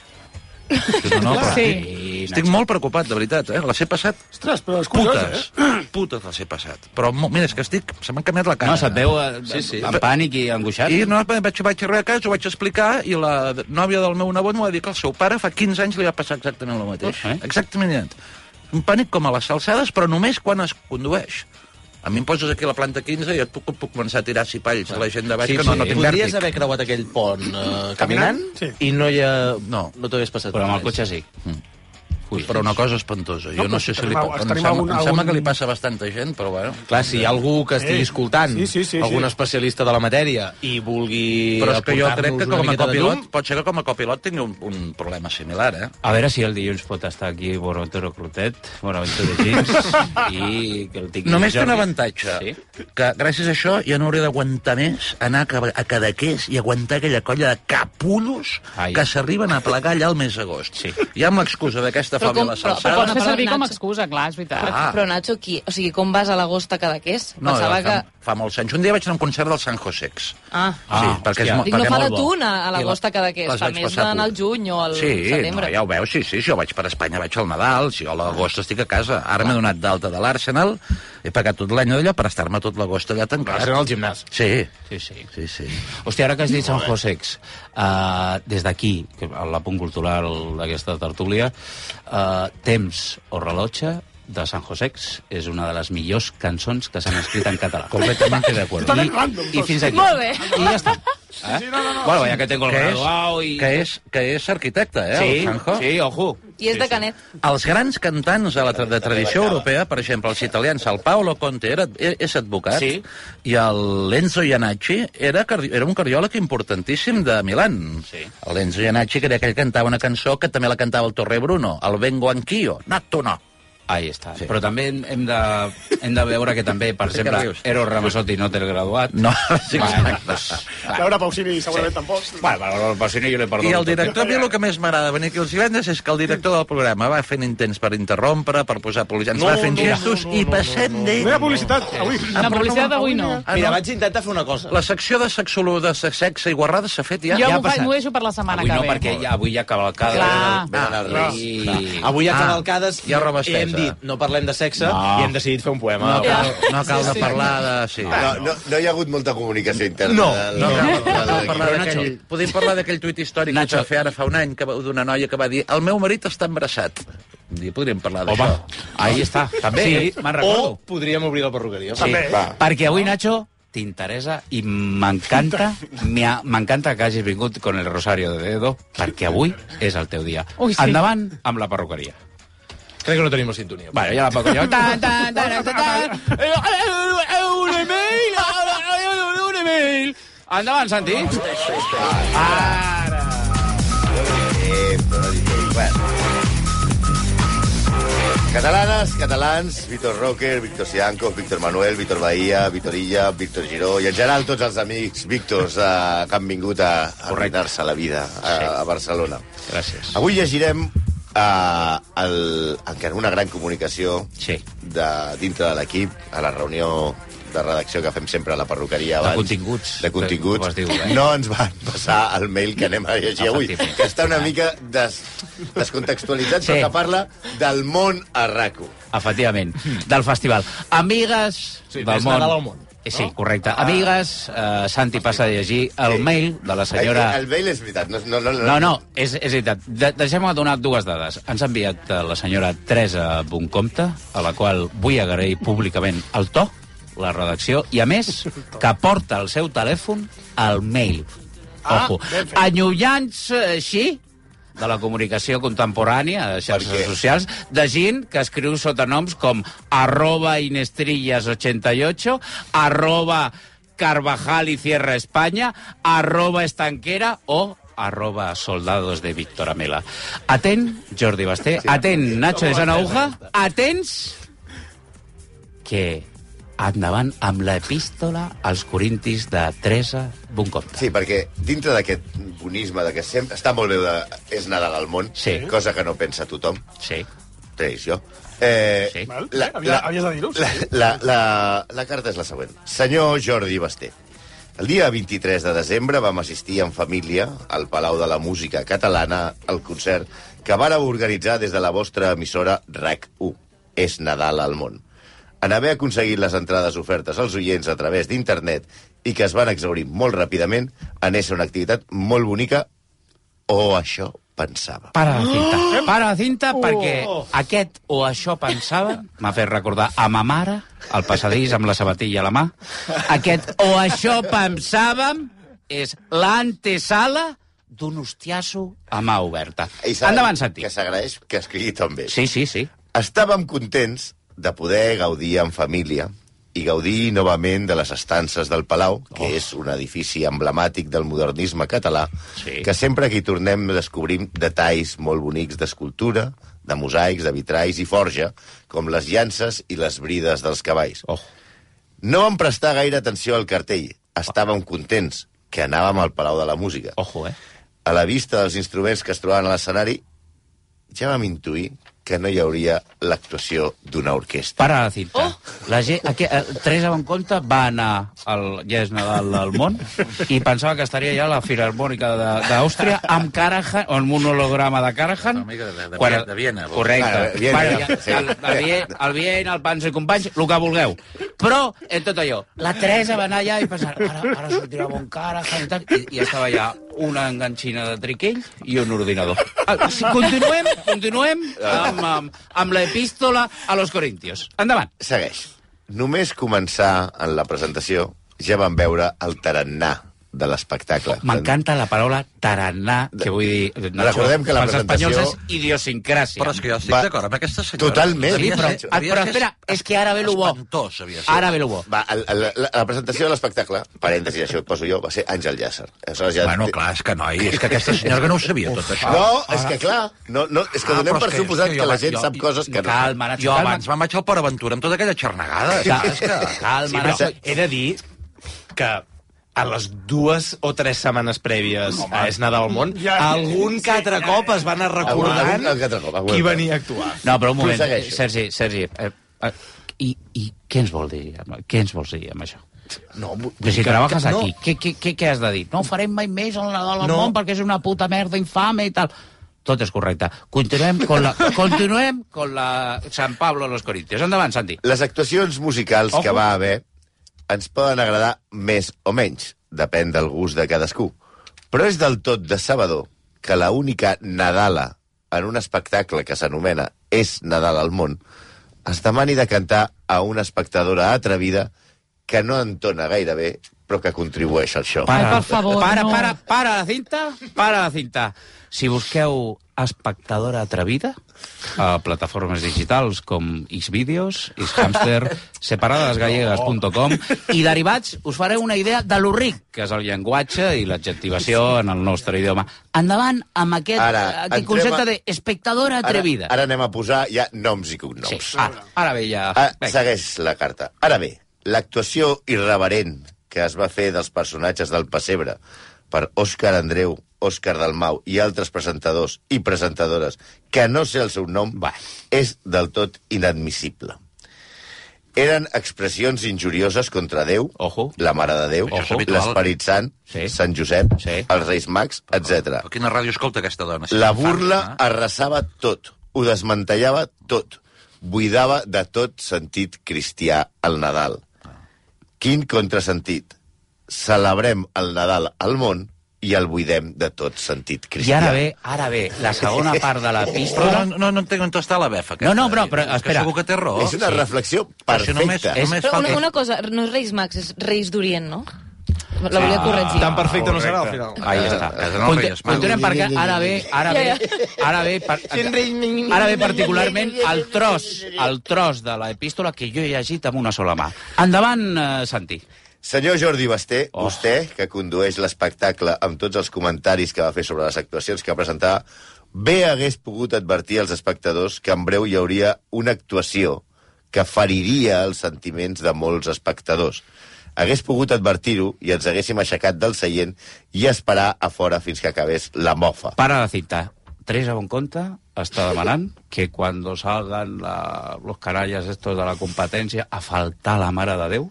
Speaker 8: no, no, però
Speaker 4: Sí.
Speaker 8: estic- Estic molt preocupat, de veritat, eh? Les he passat
Speaker 4: Ostres, però és curiós,
Speaker 8: putes. Putes les he passat. Però, mo- mira, és que estic... Se m'han canviat la cara.
Speaker 6: No, se't veu eh,
Speaker 8: Sí, sí.
Speaker 6: en pànic i angoixat.
Speaker 8: I no, vaig, vaig arribar a casa, ho vaig explicar, i la nòvia del meu nebot m'ho va dir que el seu pare fa 15 anys li va passar exactament el mateix. Eh? Exactament. idèntic. Un pànic com a les salsades, però només quan es condueix. A mi em poses aquí a la planta 15 i et puc, puc començar a tirar cipalls a la gent de baix que no, no tinc
Speaker 12: Podries
Speaker 8: vèrtic.
Speaker 12: haver creuat aquell pont eh, caminant,
Speaker 8: Caminant?
Speaker 12: sí. i no hi ha...
Speaker 8: No.
Speaker 12: no t'hagués passat
Speaker 8: Però amb el
Speaker 12: res.
Speaker 8: cotxe sí. Ui, Mm. però una cosa espantosa.
Speaker 12: No,
Speaker 8: Jo no,
Speaker 12: però
Speaker 8: sé si
Speaker 12: tenim
Speaker 8: li...
Speaker 12: al-
Speaker 8: Em
Speaker 12: tenim
Speaker 8: sembla,
Speaker 12: algun-
Speaker 8: em sembla
Speaker 12: algun-
Speaker 8: que li passa a bastanta gent, però bueno.
Speaker 12: Clar, si hi ha algú que estigui
Speaker 8: Eh,
Speaker 12: escoltant,
Speaker 8: sí, sí, sí,
Speaker 12: algun
Speaker 8: sí.
Speaker 12: especialista de la matèria, i vulgui
Speaker 8: Però és que jo crec que
Speaker 12: aportar-nos una
Speaker 8: com a
Speaker 12: miqueta de
Speaker 8: copilot,
Speaker 12: llum,
Speaker 8: pot ser que com a copilot tingui un, un problema similar, eh?
Speaker 6: A veure si el dilluns pot estar aquí Bonaventura Clotet, Bonaventura Gims, i que el tingui
Speaker 8: Només té
Speaker 6: Jordi.
Speaker 8: un avantatge, sí? que gràcies a això ja no hauré d'aguantar més anar a, Ca- a Cadaqués i aguantar aquella colla de capullos Ai. que s'arriben a plegar allà al mes d'agost. Sí. Ja amb l'excusa d'aquesta
Speaker 7: Però
Speaker 8: fòbia
Speaker 7: com-
Speaker 8: a les
Speaker 7: però-
Speaker 3: Però pots fer
Speaker 8: salsades...
Speaker 3: servir com a
Speaker 7: Nacho.
Speaker 3: excusa, clar, és veritat.
Speaker 8: Ah.
Speaker 7: Però, Nacho, qui... O sigui, com vas a l'agost a Cadaqués?
Speaker 8: No,
Speaker 7: Pensava
Speaker 8: fa,
Speaker 7: que...
Speaker 8: fa molts anys. Un dia vaig anar a un concert del San Josex.
Speaker 7: Ah,
Speaker 8: sí, perquè és, mo-
Speaker 7: Dic, no
Speaker 8: perquè
Speaker 7: fa
Speaker 8: és
Speaker 7: de
Speaker 8: molt bo.
Speaker 7: tuna a
Speaker 8: I
Speaker 7: l'agost a Cadaqués,
Speaker 8: les
Speaker 7: fa
Speaker 8: vaig
Speaker 7: més
Speaker 8: passar
Speaker 7: d'anar al juny o al
Speaker 8: Sí, no,
Speaker 7: setembre.
Speaker 8: ja ho veus, sí, sí, sí, jo vaig per Espanya, vaig al Nadal, si jo a l'agost estic a casa. Ara m'he donat d'alta de l'Arsenal, he pagat tot l'any d'allò per estar-me tot l'agost allà tancat.
Speaker 12: L'Arsenal al gimnàs.
Speaker 8: Sí.
Speaker 6: Sí, sí.
Speaker 8: sí, sí.
Speaker 6: Hòstia, ara que has dit Sant Josex, uh, des d'aquí, que a la punt cultural d'aquesta tertúlia, uh, Temps o rellotge de Sant Josex és una de les millors cançons que s'han escrit en català.
Speaker 8: Completament d'acord.
Speaker 6: I, I fins aquí.
Speaker 7: Molt bé.
Speaker 6: I ja està. Eh? Sí, no, no, no. Bueno, ja que tengo el
Speaker 8: Que és-
Speaker 6: graduado i...
Speaker 8: Que és, que és arquitecte, eh, el Sanjo?
Speaker 6: Sí, sí, ojo.
Speaker 7: I és de Canet.
Speaker 8: Els grans cantants de la tra de tradició europea, per exemple, els italians, el Paolo Conte era, e- és advocat,
Speaker 6: Sí.
Speaker 8: i el Lenzo Iannacci era, cardi- era un cardiòleg importantíssim de Milan.
Speaker 6: Sí.
Speaker 8: El Lenzo Iannacci, que era aquell que cantava una cançó que també la cantava el Torre Bruno, el Vengo Anch'io, no tu no.
Speaker 6: Ahí està. Sí. Però també hem- hem de, hem de veure que també, per
Speaker 8: Sí que
Speaker 6: exemple,
Speaker 8: rius. Mm.
Speaker 6: Eros Ramazzotti no té el graduat.
Speaker 8: No, sí,
Speaker 6: bueno, doncs,
Speaker 4: Laura Pausini segurament tampoc.
Speaker 6: bueno, bueno, el Bassini jo l'he perdut.
Speaker 8: I el
Speaker 6: tot.
Speaker 8: director, a mi el que més m'agrada venir aquí els divendres és que el director del programa va fent intents per interrompre, per posar policia, ens
Speaker 4: No,
Speaker 8: va
Speaker 4: no,
Speaker 8: fent gestos
Speaker 4: no, no,
Speaker 8: i
Speaker 4: no,
Speaker 8: passem
Speaker 4: no, no.
Speaker 8: d'ell.
Speaker 4: No hi ha publicitat, avui.
Speaker 8: Ah,
Speaker 3: La
Speaker 8: però
Speaker 3: publicitat
Speaker 8: no,
Speaker 3: d'avui no.
Speaker 8: Ah,
Speaker 12: Eh, Mira,
Speaker 8: no.
Speaker 12: vaig intentar fer una cosa.
Speaker 8: La secció de sexolo, de se- sexe i guarrada s'ha fet
Speaker 3: Jo
Speaker 8: ja? ja
Speaker 3: m'ho fa- m'ho deixo per la setmana
Speaker 6: Avui
Speaker 3: que
Speaker 6: no,
Speaker 3: ve.
Speaker 6: perquè ja, avui ja cavalcada.
Speaker 3: Clar.
Speaker 6: Venen els
Speaker 12: Clar.
Speaker 6: Reis.
Speaker 12: Avui a
Speaker 8: Ah,
Speaker 12: Cavalcades
Speaker 8: hi ha roba estesa.
Speaker 12: hem dit no parlem de sexe
Speaker 8: No.
Speaker 12: i hem decidit fer un poema.
Speaker 8: No cal, no cal de parlar de... Sí.
Speaker 2: No, no, no hi ha hagut molta comunicació interna.
Speaker 8: No,
Speaker 2: de- de-
Speaker 8: no, no,
Speaker 2: de-
Speaker 8: no,
Speaker 2: de-
Speaker 8: parlar
Speaker 6: Però,
Speaker 8: d'aquell...
Speaker 6: Nacho.
Speaker 8: Podem parlar d'aquell tuit històric
Speaker 6: Nacho.
Speaker 8: que es va fer ara fa un any que va- d'una noia que va dir el meu marit està embarassat. Un dia podríem parlar d'això.
Speaker 6: Ahí està. També,
Speaker 12: Bé,
Speaker 6: sí, me'n
Speaker 12: o
Speaker 6: recordo.
Speaker 12: podríem obrir la perruqueria.
Speaker 6: Sí, perquè avui, Nacho, t'interessa i m'encanta m'ha- m'encanta que hagis vingut con el rosario de dedo perquè avui és el teu dia.
Speaker 3: Ui, sí.
Speaker 6: Endavant amb la perruqueria.
Speaker 12: Crec que no tenim la sintonia.
Speaker 6: Bueno, ja la puc jo. Tan, tan, tan, tan, tan. Un email! Un email! Endavant, Santi. Ara.
Speaker 2: Bueno. Catalanes, catalans, Víctor Rocker, Víctor Sianco, Víctor Manuel, Víctor Bahia, Víctor Illa, Víctor Giró i en general tots els amics Víctors eh, que han vingut a, a arruinar-se la vida a, a Barcelona.
Speaker 6: Gràcies.
Speaker 2: Avui llegirem eh, el, encara una gran comunicació
Speaker 6: Sí.
Speaker 2: de, dintre de l'equip a la reunió de de redacció que fem sempre a la perruqueria
Speaker 6: De
Speaker 2: abans.
Speaker 6: continguts.
Speaker 2: De
Speaker 6: Com
Speaker 2: continguts.
Speaker 6: es diu, eh?
Speaker 2: No ens van passar el mail que anem a llegir avui, que està una mica des, descontextualitzat,
Speaker 6: Sí.
Speaker 2: però que parla del món a RACO.
Speaker 6: efectivament, del festival. Amigues
Speaker 2: Sí,
Speaker 6: del
Speaker 2: més
Speaker 6: món...
Speaker 2: Nadal al món, Ah,
Speaker 6: Eh, Sí, correcte. Amigues, eh, Santi passa a llegir el mail de la senyora...
Speaker 2: Eh, El, el mail és veritat. No, no, no,
Speaker 6: No, no, és, és veritat. De, Deixem-me donar dues dades. Ens ha enviat eh, la senyora Teresa Boncompte, a la qual vull agrair públicament el to, la redacció, i a més, que porta el seu telèfon al mail.
Speaker 13: Ah,
Speaker 6: Ojo.
Speaker 13: ben fet.
Speaker 6: Allunyant-se així de la comunicació contemporània, de xarxes socials, de gent que escriu sota noms com arroba inestrillas88, arroba Carvajal y Cierra España, arroba estanquera o arroba soldados de Víctor Amela. Aten, Jordi Basté, aten, Nacho de Sanauja, atents que endavant amb l'epístola als corintis de Teresa Boncompte.
Speaker 2: Sí, perquè dintre d'aquest bonisme de que sempre està molt bé de és Nadal al món,
Speaker 6: Sí.
Speaker 2: cosa que no pensa tothom.
Speaker 6: Sí.
Speaker 2: Tradició. Eh,
Speaker 6: Sí.
Speaker 4: Val, eh? Havia- havies de dir-ho, sí.
Speaker 2: La, la, la, la carta és la següent. Senyor Jordi Basté, el dia 23 de desembre vam assistir en família al Palau de la Música Catalana al concert que vàreu organitzar des de la vostra emissora RAC1. És Nadal al món. En haver aconseguit les entrades ofertes als oients a través d'internet i que es van exaurir molt ràpidament, en ésser una activitat molt bonica, o això pensava.
Speaker 6: Para la cinta, para la cinta, perquè aquest o això pensava, m'ha fet recordar a ma mare, al passadís amb la sabatilla a la mà, aquest o això pensàvem és l'antesala d'un hostiasso a mà oberta.
Speaker 2: I s'ha-
Speaker 6: Endavant, Santi.
Speaker 2: Que s'agraeix que escrigui també.
Speaker 6: Sí, sí, sí.
Speaker 2: Estàvem contents de poder gaudir en família i gaudir novament de les estances del Palau,
Speaker 6: Oh.
Speaker 2: que és un edifici emblemàtic del modernisme català, sí. que sempre que hi tornem descobrim detalls molt bonics d'escultura, de mosaics, de vitralls i forja, com les llances i les brides dels cavalls.
Speaker 6: Oh.
Speaker 2: No vam prestar gaire atenció al cartell. Estàvem contents que anàvem al Palau de la Música.
Speaker 6: Ojo, eh?
Speaker 2: A la vista dels instruments que es trobaven a l'escenari, ja vam intuir que no hi hauria l'actuació d'una orquestra.
Speaker 6: Para la cinta. Oh. La gent, aquí, eh, Teresa Boncompte va anar al ja és Nadal al món i pensava que estaria ja a la Filarmònica de- d'Àustria amb Karajan, o amb un holograma de Karajan.
Speaker 8: de- de
Speaker 6: Quan-
Speaker 8: Viena, de Viena, vols dir.
Speaker 6: Correcte.
Speaker 8: Ah, de Viena,
Speaker 6: Bueno,
Speaker 8: sí.
Speaker 6: el, el, Vien- el Viena, el Panzo i companys, el que vulgueu. Però, en tot allò, la Teresa va anar allà i pensava, ara, ara sortirà bon Karajan i tal, i, i estava allà una enganxina de triquell i un ordinador. Ah, sí, Continuem, continuem amb, amb, amb l'epístola a los corintios. Endavant.
Speaker 2: Segueix. Només començar en la presentació ja vam veure el tarannà de l'espectacle.
Speaker 8: Oh,
Speaker 6: M'encanta la paraula tarannà, que vull dir...
Speaker 2: Recordem que la
Speaker 6: pels
Speaker 2: presentació-
Speaker 6: espanyols és idiosincràsia. Però és que jo
Speaker 2: estic Va- d'acord
Speaker 6: amb aquesta
Speaker 2: senyora. Totalment.
Speaker 6: Sí, però,
Speaker 2: Havia-
Speaker 6: ah, però espera, és que ara ve lo bo. Ara ve lo bo.
Speaker 2: Va, el, el, la, la presentació de l'espectacle, parèntesi, això et poso jo, va ser Àngel Llàcer. Aleshores Ja...
Speaker 8: Bueno, clar, és que noi, és que aquesta senyora que no ho sabia tot això.
Speaker 2: No, és que clar, no, no, és que
Speaker 8: Ah,
Speaker 2: donem
Speaker 8: però
Speaker 2: per
Speaker 8: és que- és
Speaker 2: suposat
Speaker 8: que
Speaker 2: que,
Speaker 8: jo
Speaker 2: la
Speaker 8: vaig-
Speaker 2: gent
Speaker 8: jo-
Speaker 2: sap coses que no.
Speaker 6: Calma, Nacho,
Speaker 8: Jo
Speaker 6: calma.
Speaker 8: abans me'n vaig al Port Aventura amb tota aquella xarnegada.
Speaker 6: Cal-
Speaker 8: és que-
Speaker 6: calma,
Speaker 8: Sí, però-
Speaker 6: Nacho.
Speaker 12: He de dir que a les dues o tres setmanes prèvies Home. a És Nadal al món,
Speaker 6: Ja, ja,
Speaker 12: algun que altre cop es va anar recordant
Speaker 2: Algun que altre cop, algun
Speaker 12: qui
Speaker 2: altre.
Speaker 12: venia a actuar.
Speaker 6: No, però un moment,
Speaker 12: Prosegueixo.
Speaker 6: Sergi, Sergi, eh, eh, i, i què ens vol dir? amb- Què ens vols dir amb això?
Speaker 2: No,
Speaker 6: Però si
Speaker 12: que-
Speaker 6: treballes
Speaker 12: que- no.
Speaker 6: aquí, què, què, què, què has de dir? No ho farem mai més al Nadal
Speaker 12: No.
Speaker 6: al no. món perquè és una puta merda infame i tal. Tot és correcte. Continuem con la, continuem con la San Pablo a los Corintios. Endavant, Santi.
Speaker 2: Les actuacions musicals
Speaker 6: Ojo.
Speaker 2: que va haver ens poden agradar més o menys, depèn del gust de cadascú. Però és del tot decebedor que la única Nadala en un espectacle que s'anomena És Nadal al món es demani de cantar a una espectadora atrevida que no entona gaire bé però que contribueix al show.
Speaker 6: para, para, para la cinta, para la cinta. Si busqueu espectadora atrevida a plataformes digitals com Xvideos, Xhamster, separadasgallegas.com i derivats, us fareu una idea de lo ric que és el llenguatge i l'adjectivació en el nostre idioma. Endavant amb aquest,
Speaker 2: Ara,
Speaker 6: Ara,
Speaker 2: entrem
Speaker 6: aquest concepte
Speaker 2: a-
Speaker 6: de espectadora atrevida.
Speaker 2: Ara, ara anem a posar ja noms i cognoms.
Speaker 6: Sí, ara, ara ve ja...
Speaker 2: Ah, segueix la carta. Ara bé, l'actuació irreverent que es va fer dels personatges del Passebre per Òscar Andreu, Òscar Dalmau i altres presentadors i presentadores que no sé el seu nom, va. és del tot inadmissible. eren expressions injurioses contra Déu, Ojo. la Mare de Déu,
Speaker 8: Això és habitual.
Speaker 2: l'Esperit Sant, sí. Sant Josep, sí. els Reis Mags, etc.
Speaker 8: A quina ràdio escolta aquesta dona?
Speaker 2: La
Speaker 8: eh?
Speaker 2: burla arrasava tot, ho desmantellava tot, buidava de tot sentit cristià el Nadal. Quin contrasentit. Celebrem el Nadal al món i el buidem de tot sentit
Speaker 6: I
Speaker 2: cristià.
Speaker 6: ara ve, ara ve, la segona part de la pista...
Speaker 8: Però no, no, no entenc on està la befa.
Speaker 6: No, no, però, però
Speaker 8: És que
Speaker 6: espera.
Speaker 8: segur que té raó. És una Sí. reflexió perfecta. Això només- només
Speaker 7: Però una, una cosa, no és Reis Mags, és Reis d'Orient, no? La volia corregir.
Speaker 1: Tan Ah, perfecte no serà, al final.
Speaker 6: Ahí està. Conte- Continuem perquè ara ve, ara ve, ara ve, per, ara ve particularment el tros, el tros de l'epístola que jo he llegit amb una sola mà. Endavant, eh, Santi.
Speaker 2: Senyor Jordi Basté, oh. vostè, que condueix l'espectacle amb tots els comentaris que va fer sobre les actuacions que va presentar, bé hagués pogut advertir als espectadors que en breu hi hauria una actuació que feriria els sentiments de molts espectadors. Hagués pogut advertir-ho i ens haguéssim aixecat del seient i esperar a fora fins que acabés la mofa.
Speaker 6: Para la cinta. Teresa Bonconta està demanant que quan salgan la, los canalles estos de la competència a faltar a la Mare de Déu,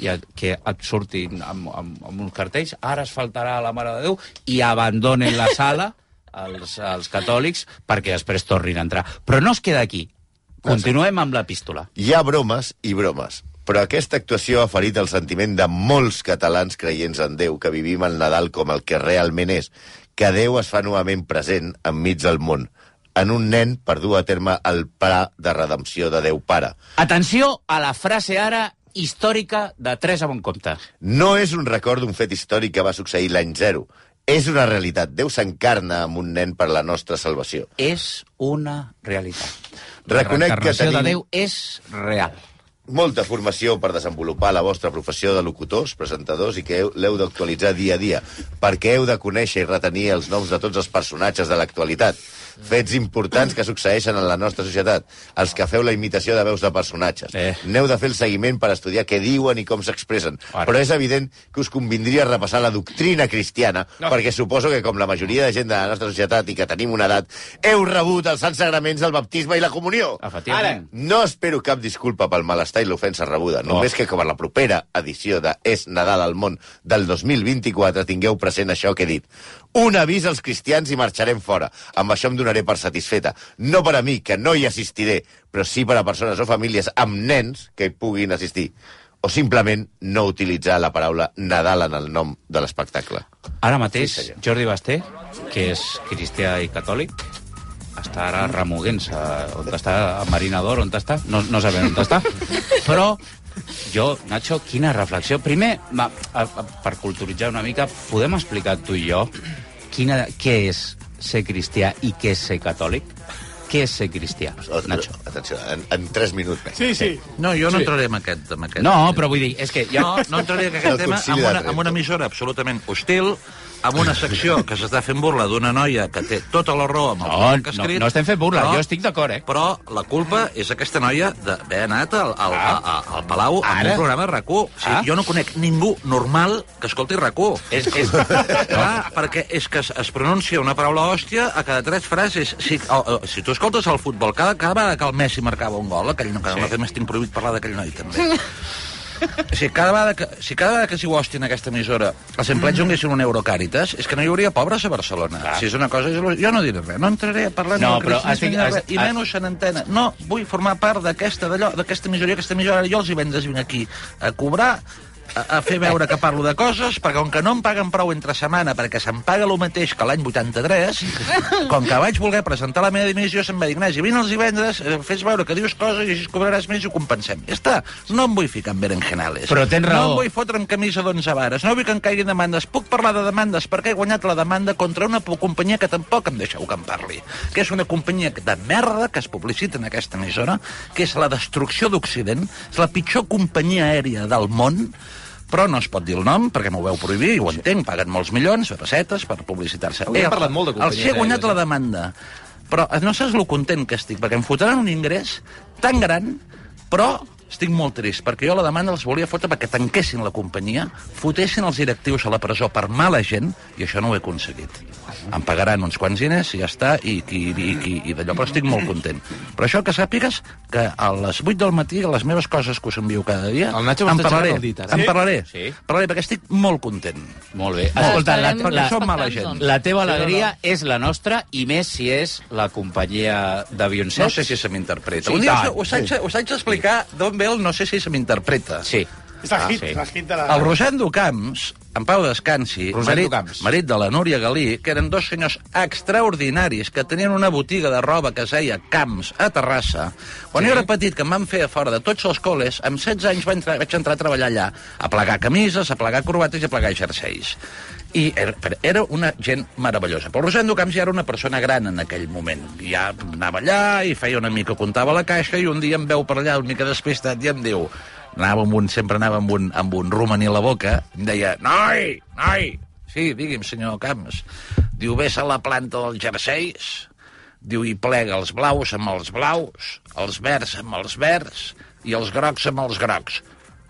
Speaker 6: i a, que et surtin amb, amb, amb uns cartells, ara es faltarà a la Mare de Déu i abandonen la sala els, els catòlics perquè després tornin a entrar. Però no es queda aquí. Continuem amb l'epístola.
Speaker 2: Hi ha bromes i bromes, però aquesta actuació ha ferit el sentiment de molts catalans creients en Déu que vivim el Nadal com el que realment és, que Déu es fa novament present enmig del món, en un nen per dur a terme el pla de redempció de Déu Pare.
Speaker 6: Atenció a la frase ara històrica de Teresa Boncompte.
Speaker 2: No és un record d'un fet històric que va succeir l'any zero. És una realitat. Déu s'encarna amb un nen per la nostra salvació.
Speaker 6: És una realitat.
Speaker 2: Reconec que
Speaker 6: Reencarnació
Speaker 2: tenim...
Speaker 6: de Déu és real.
Speaker 2: Molta formació per desenvolupar la vostra professió de locutors, presentadors, i que heu- l'heu d'actualitzar dia a dia, perquè heu de conèixer i retenir els noms de tots els personatges de l'actualitat. Fets importants que succeeixen en la nostra societat, els que feu la imitació de veus de personatges. Eh. N'heu de fer el seguiment per estudiar què diuen i com s'expressen. Però és evident que us convindria repassar la doctrina cristiana, no. perquè suposo que, com la majoria de gent de la nostra societat i que tenim una edat, heu rebut els sants sagraments del baptisme i la comunió.
Speaker 6: Efectivament.
Speaker 2: No espero cap disculpa pel malestar i l'ofensa rebuda, només que com a la propera edició de És Nadal al món del 2024 tingueu present això que he dit. Un avís als cristians i marxarem fora. Amb això em donaré per satisfeta. No per a mi, que no hi assistiré, però sí per a persones o famílies amb nens que hi puguin assistir. O simplement no utilitzar la paraula Nadal en el nom de l'espectacle.
Speaker 6: Ara mateix, sí, Jordi Basté, que és cristià i catòlic, està ara remoguent-se. On està el marinador, on està? No, no sabem on està. Però jo, Nacho, quina reflexió. Primer, va, a, a, per culturitzar una mica, podem explicar tu i jo quina, què és ser cristià i què és ser catòlic? Què és ser cristià, Nacho?
Speaker 2: Atenció, en, en 3 minuts més.
Speaker 4: Sí, sí.
Speaker 8: No, jo no entraré en aquest... En aquest
Speaker 6: No, però vull dir, és que... Jo...
Speaker 8: No, no entraré en
Speaker 6: El
Speaker 8: aquest tema
Speaker 6: Concili
Speaker 8: amb
Speaker 6: de
Speaker 8: una,
Speaker 6: Trento.
Speaker 8: amb una emissora absolutament hostil, amb una secció que s'està fent burla d'una noia que té tota la raó amb el
Speaker 6: No,
Speaker 8: que ha
Speaker 6: no,
Speaker 8: escrit.
Speaker 6: no estem fent burla,
Speaker 8: però-
Speaker 6: jo estic d'acord, eh?
Speaker 8: Però la culpa és aquesta noia d'haver anat al, al, a, a, al Palau Ara? amb
Speaker 6: Ah. Ara?
Speaker 8: un programa de RAC1. O sigui,
Speaker 6: Ah.
Speaker 8: Jo no conec ningú normal que escolti RAC1.
Speaker 6: És, és...
Speaker 8: Clar, perquè és que es, es pronuncia una paraula hòstia a cada tres frases. Si, o, o, si tu escoltes el futbol, cada, cada vegada que el Messi marcava un gol, aquell no, cada sí. vegada més tinc prohibit parlar d'aquell noi, també. Si cada vegada que, si cada vegada que s'hi hosti en aquesta emissora els empleats
Speaker 6: Mm.
Speaker 8: donguessin un euro a Càritas, és que no hi hauria pobres a Barcelona. Si és una cosa... és lo- Jo no diré res, no entraré a parlar
Speaker 6: Ah. No,
Speaker 8: del
Speaker 6: però
Speaker 8: cristianisme
Speaker 6: estic-
Speaker 8: ni de res,
Speaker 6: estic-
Speaker 8: i menys en antena. No, vull formar part d'aquesta d'allò, d'aquesta emissora, aquesta emissora, jo els divendres vinc aquí a cobrar a, a fer veure que parlo de coses, perquè com que no em paguen prou entre setmana, perquè se'm paga el mateix que l'any 83, com que vaig voler presentar la meva dimissió, se'm va dir, Ignasi, vine els divendres, eh, fes veure que dius coses i així cobraràs més i ho compensem. Ja està, no em vull ficar en berenjenales.
Speaker 6: Però tens raó.
Speaker 8: No em vull fotre amb camisa d'11 vares, no vull que em caiguin demandes. Puc parlar de demandes perquè he guanyat la demanda contra una po- companyia que tampoc em deixeu que en parli, que és una companyia de merda que es publicita en aquesta emissora, que és la destrucció d'Occident, és la pitjor companyia aèria del món, però no es pot dir el nom perquè m'ho veu prohibir, i ho entenc, paguen molts milions de pessetes per publicitar-se.
Speaker 1: Avui hem
Speaker 8: Eh,
Speaker 1: parlat molt de companyies
Speaker 8: Els he guanyat
Speaker 1: aèries,
Speaker 8: la demanda, però no saps lo content que estic, perquè em fotran un ingrés tan gran, però estic molt trist, perquè jo la demanda els volia fotre perquè tanquessin la companyia, fotessin els directius a la presó per mala gent, i això no ho he aconseguit. Em pagaran uns quants diners i ja està, i, i, i, i, i d'allò, però estic molt content. Però això que sàpigues que a les 8 del matí, a les meves coses que us envio cada dia,
Speaker 6: El Nacho
Speaker 8: en
Speaker 6: m'està
Speaker 8: parlaré,
Speaker 6: aixecant el dit, ara.
Speaker 8: en
Speaker 6: Sí?
Speaker 8: parlaré,
Speaker 6: Sí.
Speaker 8: parlaré, perquè estic molt content.
Speaker 6: Molt bé.
Speaker 8: Molt
Speaker 6: Escolta, la,
Speaker 8: esperem
Speaker 6: la,
Speaker 8: que som mala gent.
Speaker 6: la teva
Speaker 8: Doncs, Sí o no?
Speaker 6: alegria és la nostra, i més si és la companyia de Beyoncé.
Speaker 8: No sé si se m'interpreta. Un dia us- us haig- us haig d'explicar d'on ve el no sé si se m'interpreta.
Speaker 6: Sí.
Speaker 4: És el hit, el hit de la...
Speaker 8: El Rosendo Camps, en Pau Descansi,
Speaker 4: Rosendo
Speaker 8: marit,
Speaker 4: Camps.
Speaker 8: marit de la Núria Galí, que eren dos senyors extraordinaris que tenien una botiga de roba que es deia Camps a Terrassa. Quan sí. jo era petit, que em van fer a fora de tots els col·les, amb 16 anys vaig entrar, vaig entrar a treballar allà, a plegar camises, a plegar corbates i a plegar jerseis. I era, però era una gent meravellosa. Però Rosendo Camps ja era una persona gran en aquell moment. Ja anava allà i feia una mica, comptava la caixa i un dia em veu per allà una mica despistat i em diu anava amb un, sempre anava amb un, amb un romaní a la boca, em deia, noi, noi, sí, digui'm, senyor Camps. Diu, ves a la planta dels jerseis, diu, i plega els blaus amb els blaus, els verds amb els verds i els grocs amb els grocs.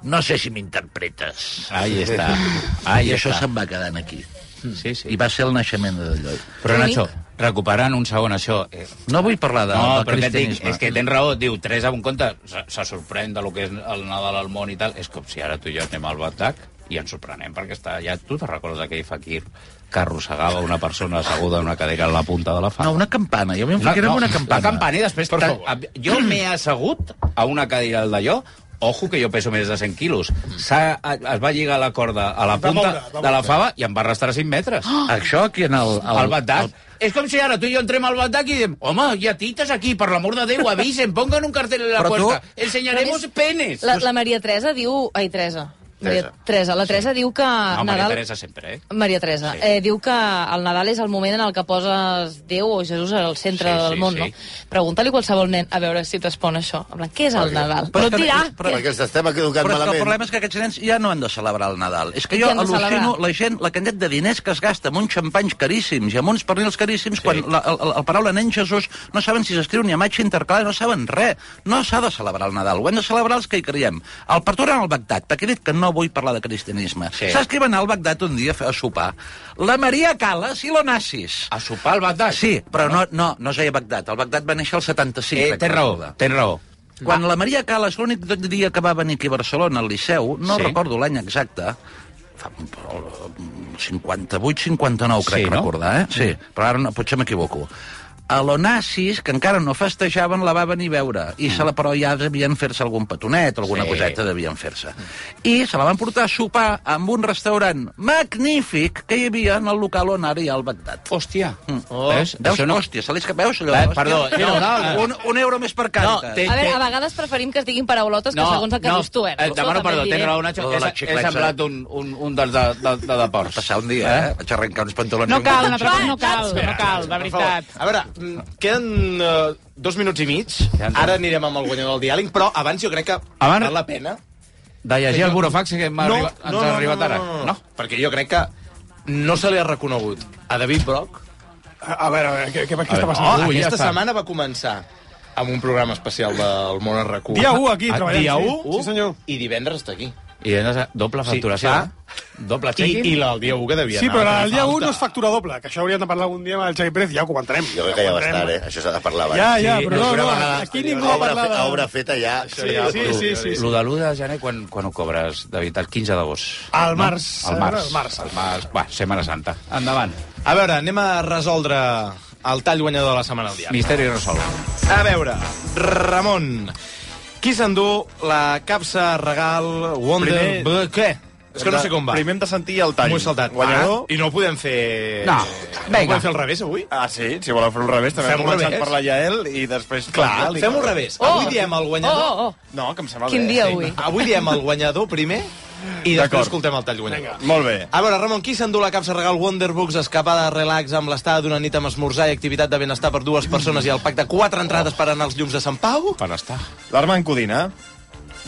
Speaker 8: No sé si m'interpretes.
Speaker 6: Ahí està. Ahí
Speaker 8: I això
Speaker 6: està.
Speaker 8: se'n va quedant aquí.
Speaker 6: Sí, sí.
Speaker 8: I va ser el naixement de Delloy.
Speaker 6: Però, Nacho, recuperant un segon això... Eh,
Speaker 8: No vull parlar de,
Speaker 6: no,
Speaker 8: del
Speaker 6: però que dic,
Speaker 8: cristianisme.
Speaker 6: és que tens raó, diu, tres a un compte, se, se sorprèn de lo que és el Nadal al món i tal. És com si ara tu i jo anem al Bagdad i ens sorprenem perquè està allà. Tu te recordes aquell fakir que arrossegava una persona asseguda en una cadira a la punta de la fama?
Speaker 8: No, una campana. Jo m'hi no, no, una campana.
Speaker 6: La campana i després...
Speaker 8: Per
Speaker 6: tan-
Speaker 8: favor.
Speaker 6: a- Jo m'he assegut a una cadira al d'allò Ojo, que jo peso més de 100 quilos. S'ha- a- Es va lligar la corda a la
Speaker 8: Va
Speaker 6: punta
Speaker 8: moure, va
Speaker 6: de la
Speaker 8: moure.
Speaker 6: fava i em va arrastrar 5 metres.
Speaker 7: Ah!
Speaker 8: Oh! Això aquí en el...
Speaker 6: Al Bagdad. És com si ara tu i jo entrem al Bagdad i diem home, hi ha tites aquí, per l'amor de Déu, avisen, pongan un cartel en la
Speaker 8: Però tu-
Speaker 6: puerta, ensenyaremos penes.
Speaker 7: La, la Maria Teresa diu... Ai, Teresa. Maria Teresa. La Teresa diu que
Speaker 6: no, Maria
Speaker 7: Nadal...
Speaker 6: Teresa sempre, eh?
Speaker 7: Maria Teresa, sí. eh, diu que el Nadal és el moment en el que poses Déu o Jesús al centre
Speaker 6: Sí,
Speaker 7: sí,
Speaker 6: sí,
Speaker 7: del món,
Speaker 6: sí.
Speaker 7: sí. no? Pregunta-li a qualsevol nen a veure si t'espon això. En plan, què és el Nadal? Però,
Speaker 8: és que-
Speaker 7: dirà...
Speaker 8: Però,
Speaker 7: què-
Speaker 8: perquè els estem educant però
Speaker 2: malament.
Speaker 8: Però el problema és que aquests nens ja no han de celebrar el Nadal. És que
Speaker 7: Què
Speaker 8: jo
Speaker 7: han de
Speaker 8: al·lucino
Speaker 7: celebrar?
Speaker 8: la gent, la quantitat de diners que es gasta amb uns xampanys caríssims i amb uns pernils caríssims sí. quan la, el, el, paraula nen Jesús no saben si s'escriu ni a matxa interclar, no saben res. No s'ha de celebrar el Nadal, ho hem de celebrar els que hi creiem. El pertoran al Bagdad, perquè he dit que no vull parlar de cristianisme.
Speaker 6: Sí.
Speaker 8: Sí. Saps que van anar al Bagdad un dia a fer- a sopar? La Maria Calas i l'Onassis.
Speaker 6: A sopar al Bagdad?
Speaker 8: Sí, però no, no, no es deia Bagdad. El Bagdad va néixer el 75.
Speaker 6: Eh,
Speaker 8: crec
Speaker 6: tens
Speaker 8: que
Speaker 6: raó,
Speaker 8: recorda.
Speaker 6: tens raó.
Speaker 8: Quan la Maria Calas, l'únic dia que va venir aquí a Barcelona, al Liceu, no
Speaker 6: Sí.
Speaker 8: sí. recordo l'any exacte, fa però, mm, 58, 59, crec
Speaker 6: Sí, no? Mm.
Speaker 8: sí, no? recordar, eh? Sí, però ara no, potser m'equivoco. A l'Onassis, que encara no festejaven, la va venir a veure, i se la, però ja devien fer-se algun petonet, alguna
Speaker 6: Mm. Sí.
Speaker 8: sí. coseta devien fer-se. I se la van portar a sopar amb un restaurant magnífic que hi havia en el local on ara hi ha el Bagdad.
Speaker 6: Hòstia. Mm.
Speaker 8: Oh.
Speaker 6: Veus?
Speaker 8: Veus? Veus?
Speaker 6: Això no-
Speaker 8: No... Hòstia, se li escapa- veus allò?
Speaker 6: Eh,
Speaker 8: Hòstia,
Speaker 6: perdó,
Speaker 8: mira,
Speaker 6: no,
Speaker 8: un, un euro més per canta.
Speaker 6: té-
Speaker 7: A veure, a vegades preferim que es diguin paraulotes que segons el que dius tu, eh?
Speaker 6: eh demano
Speaker 7: Això també
Speaker 6: perdó,
Speaker 7: és
Speaker 6: tens raó,
Speaker 7: evident.
Speaker 6: Nacho.
Speaker 8: Lo de
Speaker 6: He,
Speaker 8: la
Speaker 6: he
Speaker 8: xicleta.
Speaker 6: semblat un, un, un dels de, de, de, de ports.
Speaker 8: Passar un dia, eh? Vaig arrencar uns pantalons...
Speaker 3: No cal,
Speaker 8: i un
Speaker 3: Nacho,
Speaker 8: cotxe.
Speaker 3: no cal, no cal, de veritat.
Speaker 1: A veure, mm, queden eh, dos minuts i mig. Ara anirem amb el guanyador del diàling, però abans jo crec que
Speaker 6: Abans-
Speaker 1: val la pena.
Speaker 6: De llegir el burofax que m'ha arribat- ens ha arribat ara.
Speaker 1: No, no, no, perquè jo crec que no se li ha reconegut a David Brock.
Speaker 4: A, a veure, a veure, què, què, què
Speaker 1: veure,
Speaker 4: està passant?
Speaker 1: Oh,
Speaker 4: Ui, ja
Speaker 1: aquesta
Speaker 4: està.
Speaker 1: setmana va començar amb un programa especial del món RQ.
Speaker 4: Dia u aquí, treballant,
Speaker 1: Dia
Speaker 4: sí.
Speaker 1: 1,
Speaker 4: Sí, senyor.
Speaker 1: i divendres està aquí.
Speaker 6: I a doble
Speaker 1: Sí,
Speaker 6: facturació.
Speaker 1: clar.
Speaker 6: Sí, doble
Speaker 1: I,
Speaker 6: check-in.
Speaker 1: i la- el dia 1 que devia
Speaker 4: Sí,
Speaker 1: anar,
Speaker 4: però
Speaker 1: que
Speaker 4: el dia
Speaker 1: falta.
Speaker 4: 1 no és factura doble, que això hauríem de parlar algun dia amb el Xavi Pérez, ja ho comentarem.
Speaker 2: Jo crec que ja va estar, eh? Això s'ha de parlar abans.
Speaker 4: Ja, ja, però no,
Speaker 2: Una
Speaker 4: no,
Speaker 2: vegada-
Speaker 4: aquí ningú va
Speaker 2: obra
Speaker 4: parlar
Speaker 2: fe-
Speaker 4: de-
Speaker 2: Obra feta ja.
Speaker 4: Sí, sí, sí, sí, sí.
Speaker 6: Lo de l'1 de gener, quan, quan ho cobres, David? El 15 d'agost.
Speaker 4: Al març.
Speaker 6: Al març.
Speaker 4: Al març.
Speaker 6: Al març. Va, Setmana Santa. Endavant.
Speaker 1: A veure, anem a resoldre el tall guanyador de la setmana al diari.
Speaker 6: Misteri resolt.
Speaker 1: A veure, Ramon, qui s'endú la capsa regal Wonder...
Speaker 5: Primer-
Speaker 1: Primer... Què? És que no sé com va.
Speaker 5: Primer hem de sentir el tall.
Speaker 1: M'ho he saltat.
Speaker 5: Guanyador.
Speaker 1: Ah, I no ho podem fer...
Speaker 6: No.
Speaker 1: No
Speaker 6: Vinga.
Speaker 1: ho podem fer al revés, avui?
Speaker 5: Ah, sí? Si voleu fer un revés, també
Speaker 1: Fem
Speaker 5: hem
Speaker 1: un
Speaker 5: començat
Speaker 1: revés.
Speaker 5: per la Yael i després...
Speaker 1: Clar,
Speaker 5: Li-
Speaker 1: fem un revés. Oh. Avui diem el guanyador...
Speaker 7: Oh, oh,
Speaker 5: No, que em sembla
Speaker 7: Quin
Speaker 5: bé.
Speaker 7: dia
Speaker 5: Sí.
Speaker 7: avui?
Speaker 1: Avui diem el guanyador primer i després
Speaker 5: D'acord.
Speaker 1: escoltem el tall guanyador.
Speaker 5: Molt bé.
Speaker 1: A veure, Ramon, qui s'endú la capsa regal Wonderbooks, escapada, relax, amb l'estada d'una nit amb esmorzar i activitat de benestar per dues persones i el pack de quatre entrades per anar als llums de Sant Pau?
Speaker 6: Per estar.
Speaker 5: L'Armand Codina.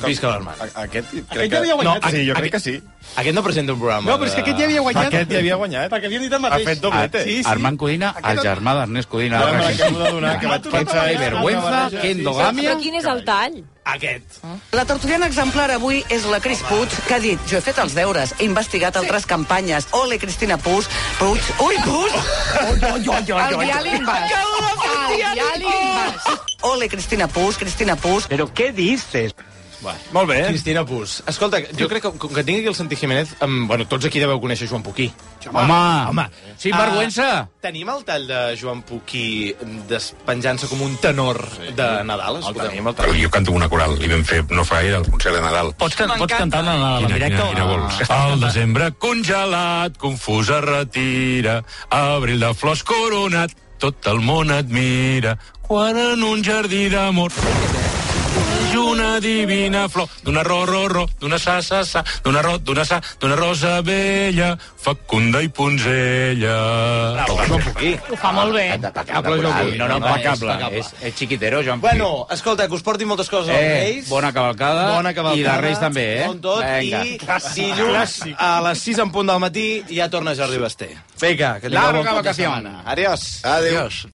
Speaker 1: Visca l'Armand.
Speaker 14: Aquest
Speaker 5: Aquest ja havia guanyat.
Speaker 14: Sí, jo crec
Speaker 1: aquest,
Speaker 14: que sí.
Speaker 1: Aquest no presenta un programa.
Speaker 5: No, però és que aquest ja havia guanyat.
Speaker 14: Aquest ja havia guanyat.
Speaker 5: Perquè havia dit el mateix.
Speaker 4: eh?
Speaker 6: Ah,
Speaker 5: Sí, sí.
Speaker 6: Armand Codina, el germà d'Ernest Codina.
Speaker 14: Ara me l'acabo de donar, que vaig pensar-
Speaker 6: Que vergüenza, que endogàmia...
Speaker 15: Però quin és el tall?
Speaker 1: Aquest.
Speaker 16: La tertuliana exemplar avui és la Cris Puig, que ha dit jo he fet els deures, he investigat altres campanyes. Ole, Cristina Puig, Puig... Ui, Puig! Oi, oi, oi,
Speaker 7: El diàleg vas. El diàleg vas.
Speaker 16: Ole, Cristina Puig, Cristina Puig...
Speaker 1: Però què dices?
Speaker 14: Molt bé.
Speaker 1: Cristina Pus. Escolta, jo crec que, com que tingui aquí el Santi Jiménez, um, bueno, tots aquí deveu conèixer Joan Puquí.
Speaker 6: Home!
Speaker 1: Home!
Speaker 6: Sin
Speaker 4: Ah.
Speaker 6: vergüenza.
Speaker 1: Uh, tenim el tall de Joan Puquí despenjant-se com un tenor de Nadal? El tenim, el tenim.
Speaker 8: Jo canto una coral, li vam fer no fa gaire el concert de Nadal.
Speaker 17: Pots, can pots cantar la, la, la
Speaker 8: Quina,
Speaker 17: directa?
Speaker 8: quina, quina vols? El desembre congelat, confús es retira, abril de flors coronat, tot el món et mira, quan en un jardí d'amor és una divina flor d'una ro, ro, ro, d'una sa, sa, sa, d'una ro, d'una sa, d'una rosa vella, fecunda i punzella. Oh,
Speaker 2: Ho fa molt bé.
Speaker 6: No, no, impecable. És, és chiquitero, Joan Puig.
Speaker 1: Bueno, escolta, que us porti moltes coses als
Speaker 6: Eh,
Speaker 1: Reis.
Speaker 6: bona cavalcada.
Speaker 1: Bona cavalcada.
Speaker 6: I de Reis també, eh?
Speaker 1: Bon tot.
Speaker 6: Vinga.
Speaker 1: I dilluns a les 6 en punt del matí ja torna Jordi Basté. Vinga, que tingueu
Speaker 6: Larga
Speaker 1: bon cap de
Speaker 6: vacación.
Speaker 1: setmana. Adiós.
Speaker 18: Adiós.